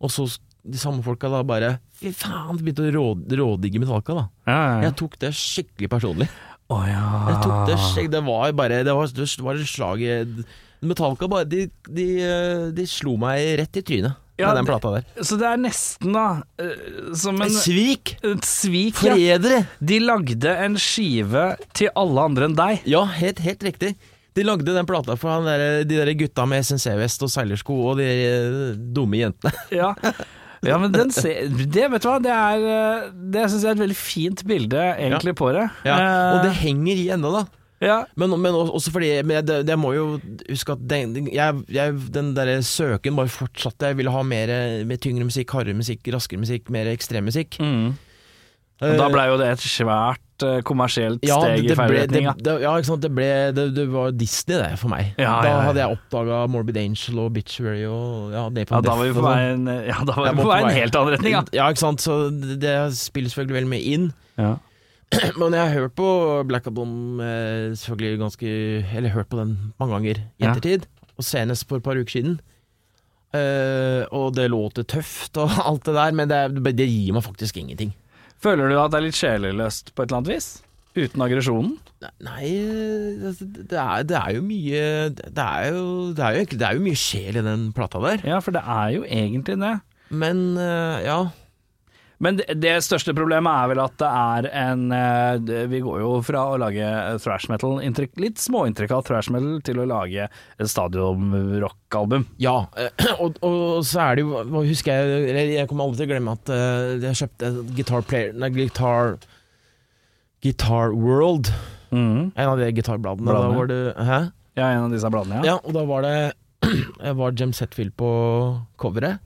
[SPEAKER 2] og så s- de samme folka da bare Fy faen, de begynte å råd, rådigge Metallica, da.
[SPEAKER 1] ja, ja, ja.
[SPEAKER 2] Jeg tok det skikkelig personlig.
[SPEAKER 1] Å, ja.
[SPEAKER 2] Jeg tok det
[SPEAKER 1] Ah.
[SPEAKER 2] skjegg, det var bare Det var, det var et slag i- Metallica bare de, de, eh, de slo meg rett i trynet
[SPEAKER 1] Ja,
[SPEAKER 2] med den
[SPEAKER 1] det-
[SPEAKER 2] plata der.
[SPEAKER 1] Så det er nesten, da, eh, som en,
[SPEAKER 2] Et svik!
[SPEAKER 1] et svik. Ja.
[SPEAKER 2] Forrædere!
[SPEAKER 1] De lagde en skive til alle andre enn deg.
[SPEAKER 2] Ja, helt, helt riktig. De lagde den plata for han der, de der gutta med SNC-vest og seilersko og de eh, dumme jentene.
[SPEAKER 1] Ja, ja men den ser Det, vet du hva, det er eh, Det syns jeg er et veldig fint bilde, egentlig, på det.
[SPEAKER 2] Og det
[SPEAKER 1] Eh,
[SPEAKER 2] henger i ennå, da.
[SPEAKER 1] Ja.
[SPEAKER 2] Men, men også også fordi men jeg, det- jeg må jo huske at den, jeg, jeg, den der søken bare fortsatte. Jeg ville ha mer eh, med tyngre musikk, hardere musikk, raskere musikk, mer ekstrem musikk.
[SPEAKER 1] Mm. Og da
[SPEAKER 2] Eh,
[SPEAKER 1] blei jo det et svært eh, kommersielt
[SPEAKER 2] ja, det,
[SPEAKER 1] steg
[SPEAKER 2] det
[SPEAKER 1] i feil
[SPEAKER 2] ble, det,
[SPEAKER 1] retning. ja.
[SPEAKER 2] det, ja, ikke sant. Det, ble, det, det var Disney, det, for meg.
[SPEAKER 1] Ja, ja,
[SPEAKER 2] da
[SPEAKER 1] ja.
[SPEAKER 2] hadde jeg oppdaga Morbid Angel og Bitchbury og ja, Napalm
[SPEAKER 1] Ja, da
[SPEAKER 2] Death
[SPEAKER 1] var vi på
[SPEAKER 2] og
[SPEAKER 1] vei en,
[SPEAKER 2] sånn.
[SPEAKER 1] eh, ja, da var vi
[SPEAKER 2] Jeg må
[SPEAKER 1] på
[SPEAKER 2] på
[SPEAKER 1] vei en
[SPEAKER 2] vei.
[SPEAKER 1] helt annen retning, ja.
[SPEAKER 2] Ja, ikke sant. Så det, det spiller selvfølgelig veldig mye inn.
[SPEAKER 1] ja.
[SPEAKER 2] Men jeg har hørt på Black Album eh, selvfølgelig ganske Eller hørt på den mange ganger i
[SPEAKER 1] Ja.
[SPEAKER 2] ettertid. Og senest for et par uker siden. Eh, og det låter tøft og alt det der, men det, er- det gir meg faktisk ingenting.
[SPEAKER 1] Føler du at det er litt sjeleløst på et eller annet vis? Uten aggresjonen?
[SPEAKER 2] Nei, Nei, altså, det er, det er jo mye Det er jo, det er jo, egentlig- det er jo mye sjel i den plata der.
[SPEAKER 1] Ja, for det er jo egentlig det.
[SPEAKER 2] Men eh, ja.
[SPEAKER 1] Men det, det største problemet er vel at det er en eh, det- Vi går jo fra å lage eh, thrash metal, intrik- litt småintrikat thrash metal, til å lage et stadionrockalbum.
[SPEAKER 2] Ja, eh, og, og så er det jo hva Husker jeg eller Jeg kommer aldri til å glemme at eh, jeg kjøpte en Guitar Player Nei, Guitar Guitar World.
[SPEAKER 1] Mm.
[SPEAKER 2] En av de gitarbladene.
[SPEAKER 1] Bladene.
[SPEAKER 2] Da var det Hæ?
[SPEAKER 1] Ja, en av disse bladene, ja.
[SPEAKER 2] Ja, og da var det jeg var Jem Setfield på coveret.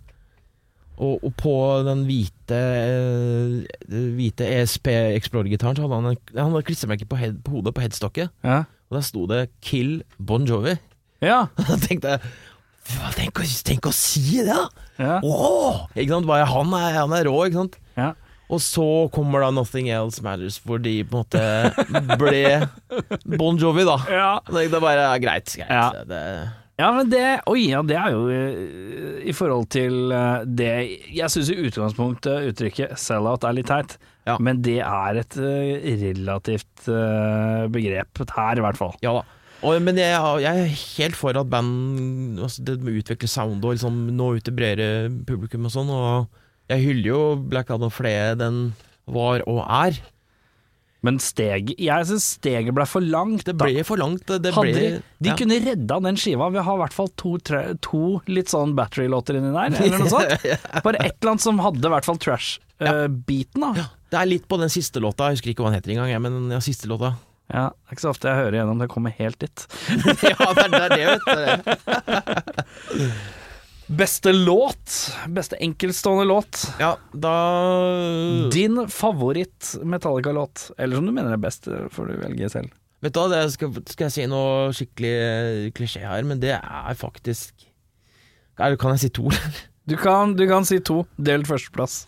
[SPEAKER 2] Og, og på den hvite eh, Hvite ESP Explorer-gitaren Så hadde han en, Han hadde klistremerke på, head- på hodet på headstocket.
[SPEAKER 1] Ja.
[SPEAKER 2] Og der sto det 'Kill Bon Jovi'.
[SPEAKER 1] ja.
[SPEAKER 2] Da tenkte jeg "Hva, tenk, å- tenk å si det, da!
[SPEAKER 1] ja.
[SPEAKER 2] Åh! Ikke sant? Bare han er, han er rå, ikke sant?
[SPEAKER 1] Ja.
[SPEAKER 2] Og så kommer da 'Nothing Else Matters', hvor de på en måte ble Bon Jovi, da.
[SPEAKER 1] ja.
[SPEAKER 2] Det er bare ja, greit. greit.
[SPEAKER 1] Ja.
[SPEAKER 2] Det,
[SPEAKER 1] Ja, men det Oi, ja, det er jo eh, i forhold til eh, det Jeg syns i utgangspunktet uttrykket sell-out er litt teit,
[SPEAKER 2] Ja.
[SPEAKER 1] men det er et eh, relativt eh, begrep her, i hvert fall.
[SPEAKER 2] ja da. Og, men jeg, har- jeg er helt for at band altså Det med å utvikle sound og liksom nå ut til bredere publikum og sånn. Og jeg hyller jo Black Adam for det den var og er.
[SPEAKER 1] Men steget Jeg syns steget ble for langt.
[SPEAKER 2] Det
[SPEAKER 1] da.
[SPEAKER 2] ble for langt. Det, det
[SPEAKER 1] Hadde
[SPEAKER 2] ble,
[SPEAKER 1] de, de
[SPEAKER 2] ja.
[SPEAKER 1] kunne redda den skiva. Vi har i hvert fall to, tre, to litt sånn battery-låter inni der, eller noe sånt. Bare et eller annet som hadde i hvert fall trash-biten, da.
[SPEAKER 2] ja, Det er litt på den siste låta, jeg husker ikke hva den heter engang, jeg, men ja, siste låta.
[SPEAKER 1] Ja, det er ikke så ofte jeg hører igjennom det kommer helt dit.
[SPEAKER 2] ja, det er det, vet du.
[SPEAKER 1] Beste låt. Beste enkeltstående låt.
[SPEAKER 2] Ja, da Mm.
[SPEAKER 1] Din favoritt Metallica-låt. Eller som du mener er best, eh, får du velge selv.
[SPEAKER 2] Vet du hva, det skal, skal jeg si noe skikkelig eh, klisjé her, men det er faktisk Er- Kan jeg si to?
[SPEAKER 1] Du kan, du kan si to. Delt førsteplass.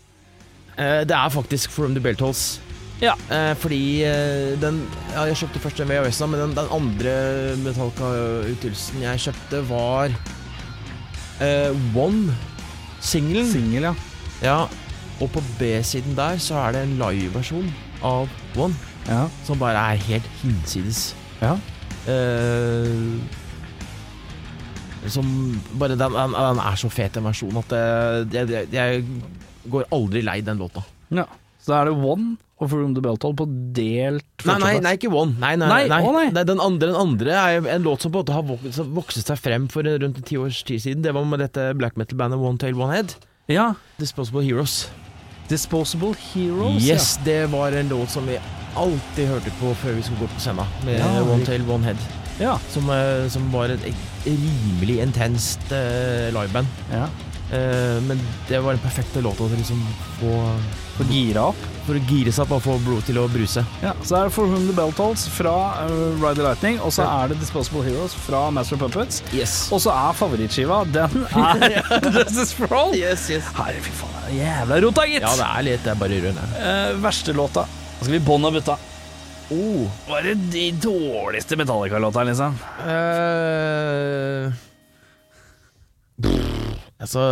[SPEAKER 2] Eh, det er faktisk From the Beltholes.
[SPEAKER 1] Ja.
[SPEAKER 2] Eh, fordi eh, den ja, Jeg kjøpte først den VHS-en, men den, den andre Metallica-utgivelsen jeg kjøpte, var eh, One. Singelen.
[SPEAKER 1] Singel, ja.
[SPEAKER 2] Ja. Og på B-siden der så er det en liveversjon av One
[SPEAKER 1] ja.
[SPEAKER 2] som bare er helt hinsides.
[SPEAKER 1] Ja.
[SPEAKER 2] Eh, som bare den, den, den er så fet, den versjonen, at det, jeg, jeg går aldri lei den låta.
[SPEAKER 1] Så da er det One og From the Belthold på delt
[SPEAKER 2] Nei, nei,
[SPEAKER 1] førsteplass.
[SPEAKER 2] nei, ikke One. Nei, nei,
[SPEAKER 1] Nei,
[SPEAKER 2] nei,
[SPEAKER 1] å nei.
[SPEAKER 2] Den, andre, den andre er jo en låt som på en måte har vok som vokset seg frem for rundt en ti års tid siden. Det var med dette black metal-bandet One Tail One Head.
[SPEAKER 1] Ja.
[SPEAKER 2] Disposable Heroes.
[SPEAKER 1] Disposable Heroes.
[SPEAKER 2] Yes, det var en låt som vi alltid hørte på før vi skulle gå på scenen, med
[SPEAKER 1] Ja,
[SPEAKER 2] One
[SPEAKER 1] riktig.
[SPEAKER 2] Tail One Head.
[SPEAKER 1] Ja.
[SPEAKER 2] Som, eh, som var et, et rimelig intenst eh, liveband.
[SPEAKER 1] ja.
[SPEAKER 2] Eh, men det var den perfekte låta til liksom få
[SPEAKER 1] For gira opp.
[SPEAKER 2] For å gire seg opp og få blodet til å bruse.
[SPEAKER 1] Ja. Så er det For Whom the Beltholds fra uh, Ride the Lightning, og så er det Disposable Heroes fra Master of Puppets.
[SPEAKER 2] Yes.
[SPEAKER 1] Og så er favorittskiva, den er Justice for All.
[SPEAKER 2] yes, yes.
[SPEAKER 1] Her, fy faen, det er jævla rota, gitt!
[SPEAKER 2] Ja, det er litt Det er bare rørende.
[SPEAKER 1] Eh, verste låta. Da skal vi bånn og butta.
[SPEAKER 2] Oh.
[SPEAKER 1] Hva er det de dårligste Metallica-låta, liksom?
[SPEAKER 2] Eh, pff, altså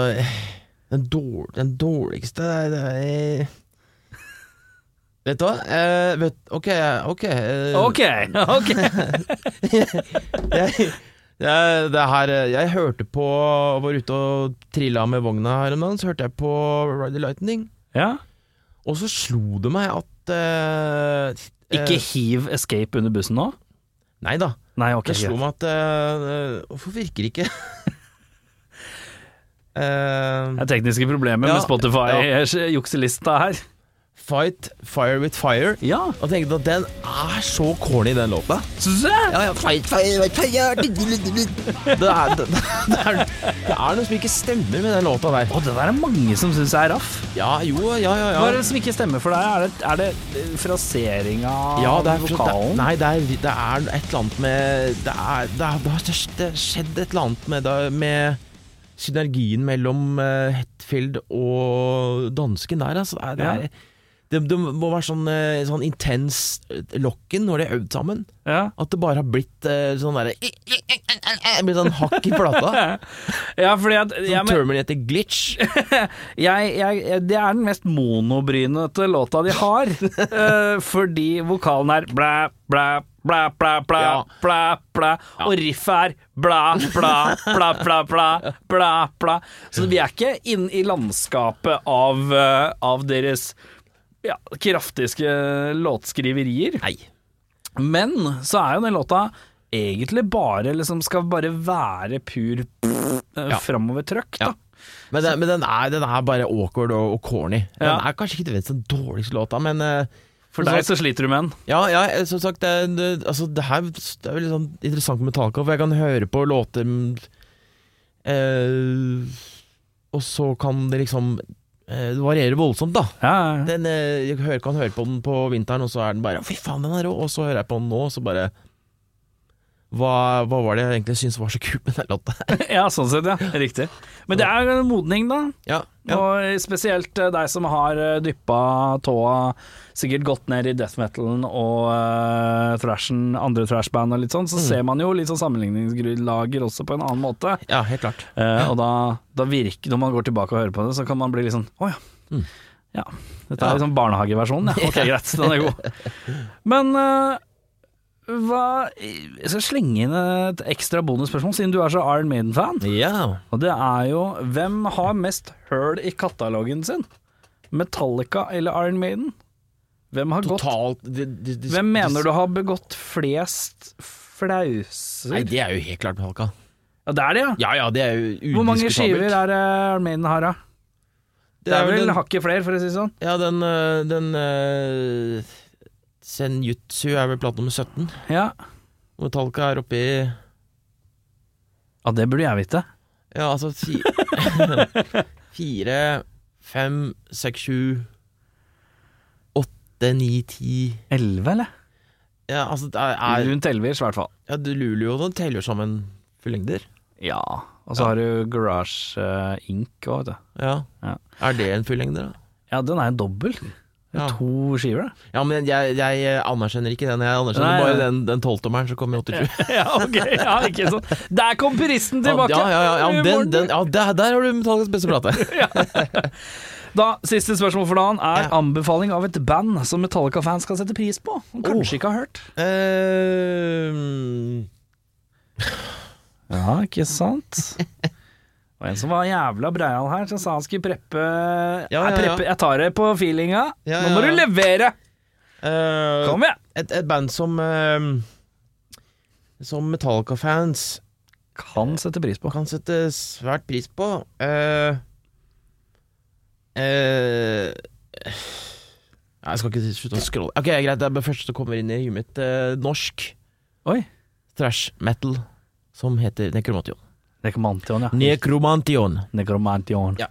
[SPEAKER 2] den, dår, den dårligste det er, det er, Vet du hva? Eh, vet, ok, ok. eh,
[SPEAKER 1] Ok, ok.
[SPEAKER 2] jeg, jeg, det her, jeg hørte på Var ute og trilla med vogna her om dagen, så hørte jeg på Ride the Lightning.
[SPEAKER 1] Ja.
[SPEAKER 2] Og så slo det meg at eh,
[SPEAKER 1] Ikke
[SPEAKER 2] eh,
[SPEAKER 1] hiv Escape under bussen nå?
[SPEAKER 2] Nei da.
[SPEAKER 1] Nei, ok.
[SPEAKER 2] Det slo
[SPEAKER 1] greit.
[SPEAKER 2] meg at eh, Hvorfor virker ikke Eh,
[SPEAKER 1] Det er tekniske problemer
[SPEAKER 2] Ja,
[SPEAKER 1] med Spotify-jukselista her.
[SPEAKER 2] Fight Fire With Fire.
[SPEAKER 1] Ja,
[SPEAKER 2] Og tenkte at den er så corny, den låta.
[SPEAKER 1] syns du det?
[SPEAKER 2] Ja, ja, fight, fire, fight, fire. Det er, det, det, er, det er noe som ikke stemmer med den låta der.
[SPEAKER 1] Å, det der er mange som syns er raff.
[SPEAKER 2] Ja, jo, ja, ja,
[SPEAKER 1] Hva
[SPEAKER 2] ja.
[SPEAKER 1] er det som ikke stemmer for deg? Er det, er det fraseringa
[SPEAKER 2] Ja, det er,
[SPEAKER 1] av
[SPEAKER 2] det,
[SPEAKER 1] vokalen?
[SPEAKER 2] nei, det er, det er et eller annet med Det, er, det, er, det har skj- det har skjedd et eller annet med, det- med synergien mellom eh, Hetfield og dansken der. Altså, det, er, det, er, det, det må være sånn, eh, sånn intens eh, lokken når de har øvd sammen.
[SPEAKER 1] Ja.
[SPEAKER 2] At det bare har blitt eh, sånn derre Blitt sånn hakk i plata.
[SPEAKER 1] ja, fordi at ja,
[SPEAKER 2] Sånn
[SPEAKER 1] men,
[SPEAKER 2] Terminator glitch.
[SPEAKER 1] jeg, jeg, jeg- Det er den mest monobrynete låta de har. eh, fordi vokalen er blæ, blæ, blæ, blæ, blæ,
[SPEAKER 2] Ja.
[SPEAKER 1] blæ, blæ. Og riffet er blæ, blæ, blæ, blæ, blæ, blæ, blæ. Så vi er ikke inn i landskapet av, eh, av deres ja, kraftiske låtskriverier.
[SPEAKER 2] Nei.
[SPEAKER 1] Men så er jo den låta egentlig bare liksom skal bare være pur ja. framovertrøkk, da.
[SPEAKER 2] Ja. Men, den, men den, er, den er bare awkward og, og corny. Den
[SPEAKER 1] Ja.
[SPEAKER 2] er kanskje ikke den sånn dårligste låta, men eh,
[SPEAKER 1] For
[SPEAKER 2] Men
[SPEAKER 1] deg
[SPEAKER 2] så-
[SPEAKER 1] så sliter du med den.
[SPEAKER 2] ja, ja, eh, som sagt, det, er- det, altså, det her det er veldig sånn interessant med Metallica, for jeg kan høre på låter mm, eh, Og så kan det liksom eh, Det varierer voldsomt, da.
[SPEAKER 1] Ja,
[SPEAKER 2] Den, eh, jeg hører, kan høre på den på vinteren, og så er den bare Fy faen, den er rå! Og så hører jeg på den nå, og så bare hva, hva var det jeg egentlig syntes var så kult med den låta?
[SPEAKER 1] ja, sånn sett, ja. Riktig. Men det er en modning, da.
[SPEAKER 2] Ja, ja.
[SPEAKER 1] Og spesielt eh, deg som har eh, dyppa tåa sikkert godt ned i death metalen og eh, thrashen, andre thrashband og litt sånn, så ser man jo litt sånn sammenligningsgrunnlager også på en annen måte.
[SPEAKER 2] ja helt klart.
[SPEAKER 1] Eh, og da, da virker, når man går tilbake og hører på det, så kan man bli litt sånn Å ja. ja. Dette er
[SPEAKER 2] Ja.
[SPEAKER 1] liksom barnehageversjonen. Ja. Ok, greit. Den er god. Men eh, hva Jeg skal slenge inn et ekstra bonusspørsmål, siden du er så Iron Maiden-fan.
[SPEAKER 2] Ja.
[SPEAKER 1] Og det er jo Hvem har mest høl i katalogen sin? Metallica eller Iron Maiden? Hvem, har gått,
[SPEAKER 2] Totalt de, de, de,
[SPEAKER 1] hvem mener du har begått flest flauser?
[SPEAKER 2] Nei, det er jo helt klart Metallica.
[SPEAKER 1] Ja, det er det, ja.
[SPEAKER 2] Ja ja, det er jo udiskutabelt.
[SPEAKER 1] Hvor mange skiver er det Iron Maiden har, da? Det er vel
[SPEAKER 2] den,
[SPEAKER 1] hakket flere, for å si det sånn.
[SPEAKER 2] Ja, den, øh, den øh, Senjutsu er vel plate nummer 17.
[SPEAKER 1] Ja.
[SPEAKER 2] Og Metallica er oppe i
[SPEAKER 1] ja, det burde jeg vite.
[SPEAKER 2] Ja, altså fi, Fire, fem, seks, sju Åtte, ni, ti
[SPEAKER 1] Elleve, eller?
[SPEAKER 2] Ja, altså det er, er
[SPEAKER 1] Rundt elleve i hvert fall.
[SPEAKER 2] Ja, du lurer jo og teller jo sammen fullengder.
[SPEAKER 1] Ja. Og så har du Garage eh, Inc. òg, vet du.
[SPEAKER 2] Ja.
[SPEAKER 1] Ja.
[SPEAKER 2] Er det en fullengder, da?
[SPEAKER 1] Ja, den er jo dobbel. Det er
[SPEAKER 2] Ja.
[SPEAKER 1] To skiver, da.
[SPEAKER 2] Ja, men jeg, jeg anerkjenner ikke den. Jeg anerkjenner
[SPEAKER 1] Nei,
[SPEAKER 2] bare
[SPEAKER 1] nei.
[SPEAKER 2] den, den tolvtommeren som kom i 87.
[SPEAKER 1] ja, ok. Ja, ikke sånn. Der kom puristen
[SPEAKER 2] Ja,
[SPEAKER 1] tilbake!
[SPEAKER 2] ja, ja, ja, ja, den,
[SPEAKER 1] Morten.
[SPEAKER 2] den, ja der, der har du Metallicas beste plate.
[SPEAKER 1] Da, Siste spørsmål for dagen er
[SPEAKER 2] Ja.
[SPEAKER 1] anbefaling av et band som Metallica-fans skal sette pris på.
[SPEAKER 2] Oh.
[SPEAKER 1] Som kanskje ikke har hørt.
[SPEAKER 2] Ehm,
[SPEAKER 1] Ja, ikke sant? Og en som var jævla breial her, som sa han skulle preppe
[SPEAKER 2] Ja, ja,
[SPEAKER 1] Jeg, prepper, jeg tar det på feelinga.
[SPEAKER 2] Ja,
[SPEAKER 1] Nå må du
[SPEAKER 2] ja, ja.
[SPEAKER 1] levere!
[SPEAKER 2] eh,
[SPEAKER 1] Kom igjen!
[SPEAKER 2] et, et band som ehm, Som Metallica-fans
[SPEAKER 1] Kan sette pris på.
[SPEAKER 2] kan sette svært pris på. Eh, eh, jeg skal ikke slutte å scrolle. Ok, Greit, det er det første som kommer inn i huet mitt. eh, norsk
[SPEAKER 1] Oi.
[SPEAKER 2] thrash metal som heter Necromantion.
[SPEAKER 1] Nekromantion, ja.
[SPEAKER 2] Necromantion.
[SPEAKER 1] Nekromantion.
[SPEAKER 2] Ja.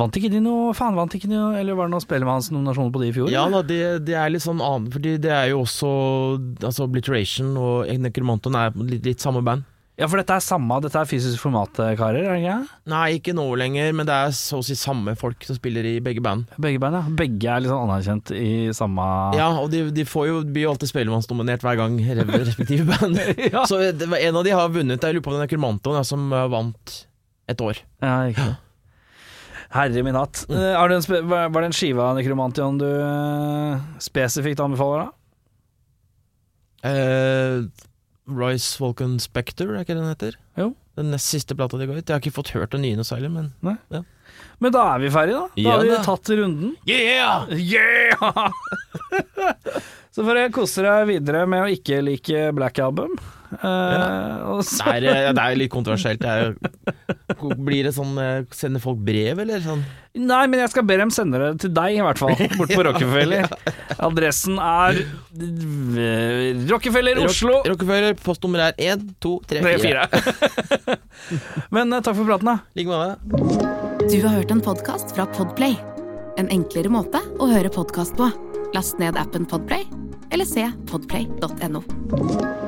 [SPEAKER 1] Vant ikke de noe Faen, vant ikke de noe Eller var det noen Spellemannsnominasjoner på de i fjor?
[SPEAKER 2] Ja
[SPEAKER 1] eller?
[SPEAKER 2] da, det, det er litt sånn annen Fordi det er jo også Altså Obliteration og Necromanton er litt, litt samme band
[SPEAKER 1] ja, for dette er samme, dette er fysisk format, karer? Er det ikke?
[SPEAKER 2] Nei, ikke nå lenger Men det er så å si samme folk som spiller i begge band
[SPEAKER 1] Begge beina. Begge er liksom anerkjent i samme
[SPEAKER 2] Ja, og de, de får jo Blir jo alltid spellemannsdominert hver gang re- Respektive band
[SPEAKER 1] Ja.
[SPEAKER 2] Så det, var- en av de har vunnet Jeg lurer på om det er Necromanton ja, Som eh, vant et år
[SPEAKER 1] Ja, ikke sant. Herre min hatt.
[SPEAKER 2] Mm.
[SPEAKER 1] Eh, har du en spe var var det en skive av Nekromantion du eh, spesifikt anbefaler, da?
[SPEAKER 2] eh, Royce Vulcan Spectre Er ikke det den heter?
[SPEAKER 1] Jo.
[SPEAKER 2] Den nest siste plata de går ut Jeg har ikke fått hørt den nye noe særlig Men
[SPEAKER 1] Men da er vi ferdige, da. Da
[SPEAKER 2] Ja,
[SPEAKER 1] har vi
[SPEAKER 2] da.
[SPEAKER 1] tatt runden.
[SPEAKER 2] Yeah!
[SPEAKER 1] Yeah! Så får dere kose dere videre med å ikke like Black Album. Eh, Eh, og så,
[SPEAKER 2] Det er, eh, det er litt kontroversielt. Det er, jo- blir det sånn eh, Sender folk brev, eller? Sånn?
[SPEAKER 1] nei, men jeg skal be dem sende det til deg, i hvert fall. Bort på Rockefeller. Adressen er eh, Rockefeller, Oslo.
[SPEAKER 2] Rock- Rockefeller, postnummer er 1, 2,
[SPEAKER 1] Det
[SPEAKER 2] 3,
[SPEAKER 1] er
[SPEAKER 2] 4.
[SPEAKER 1] fire. Men eh, takk for praten, da.
[SPEAKER 2] Ligg med deg.
[SPEAKER 3] Du har hørt en podkast fra Podplay. En enklere måte å høre podkast på. Last ned appen Podplay, eller se podplay.no.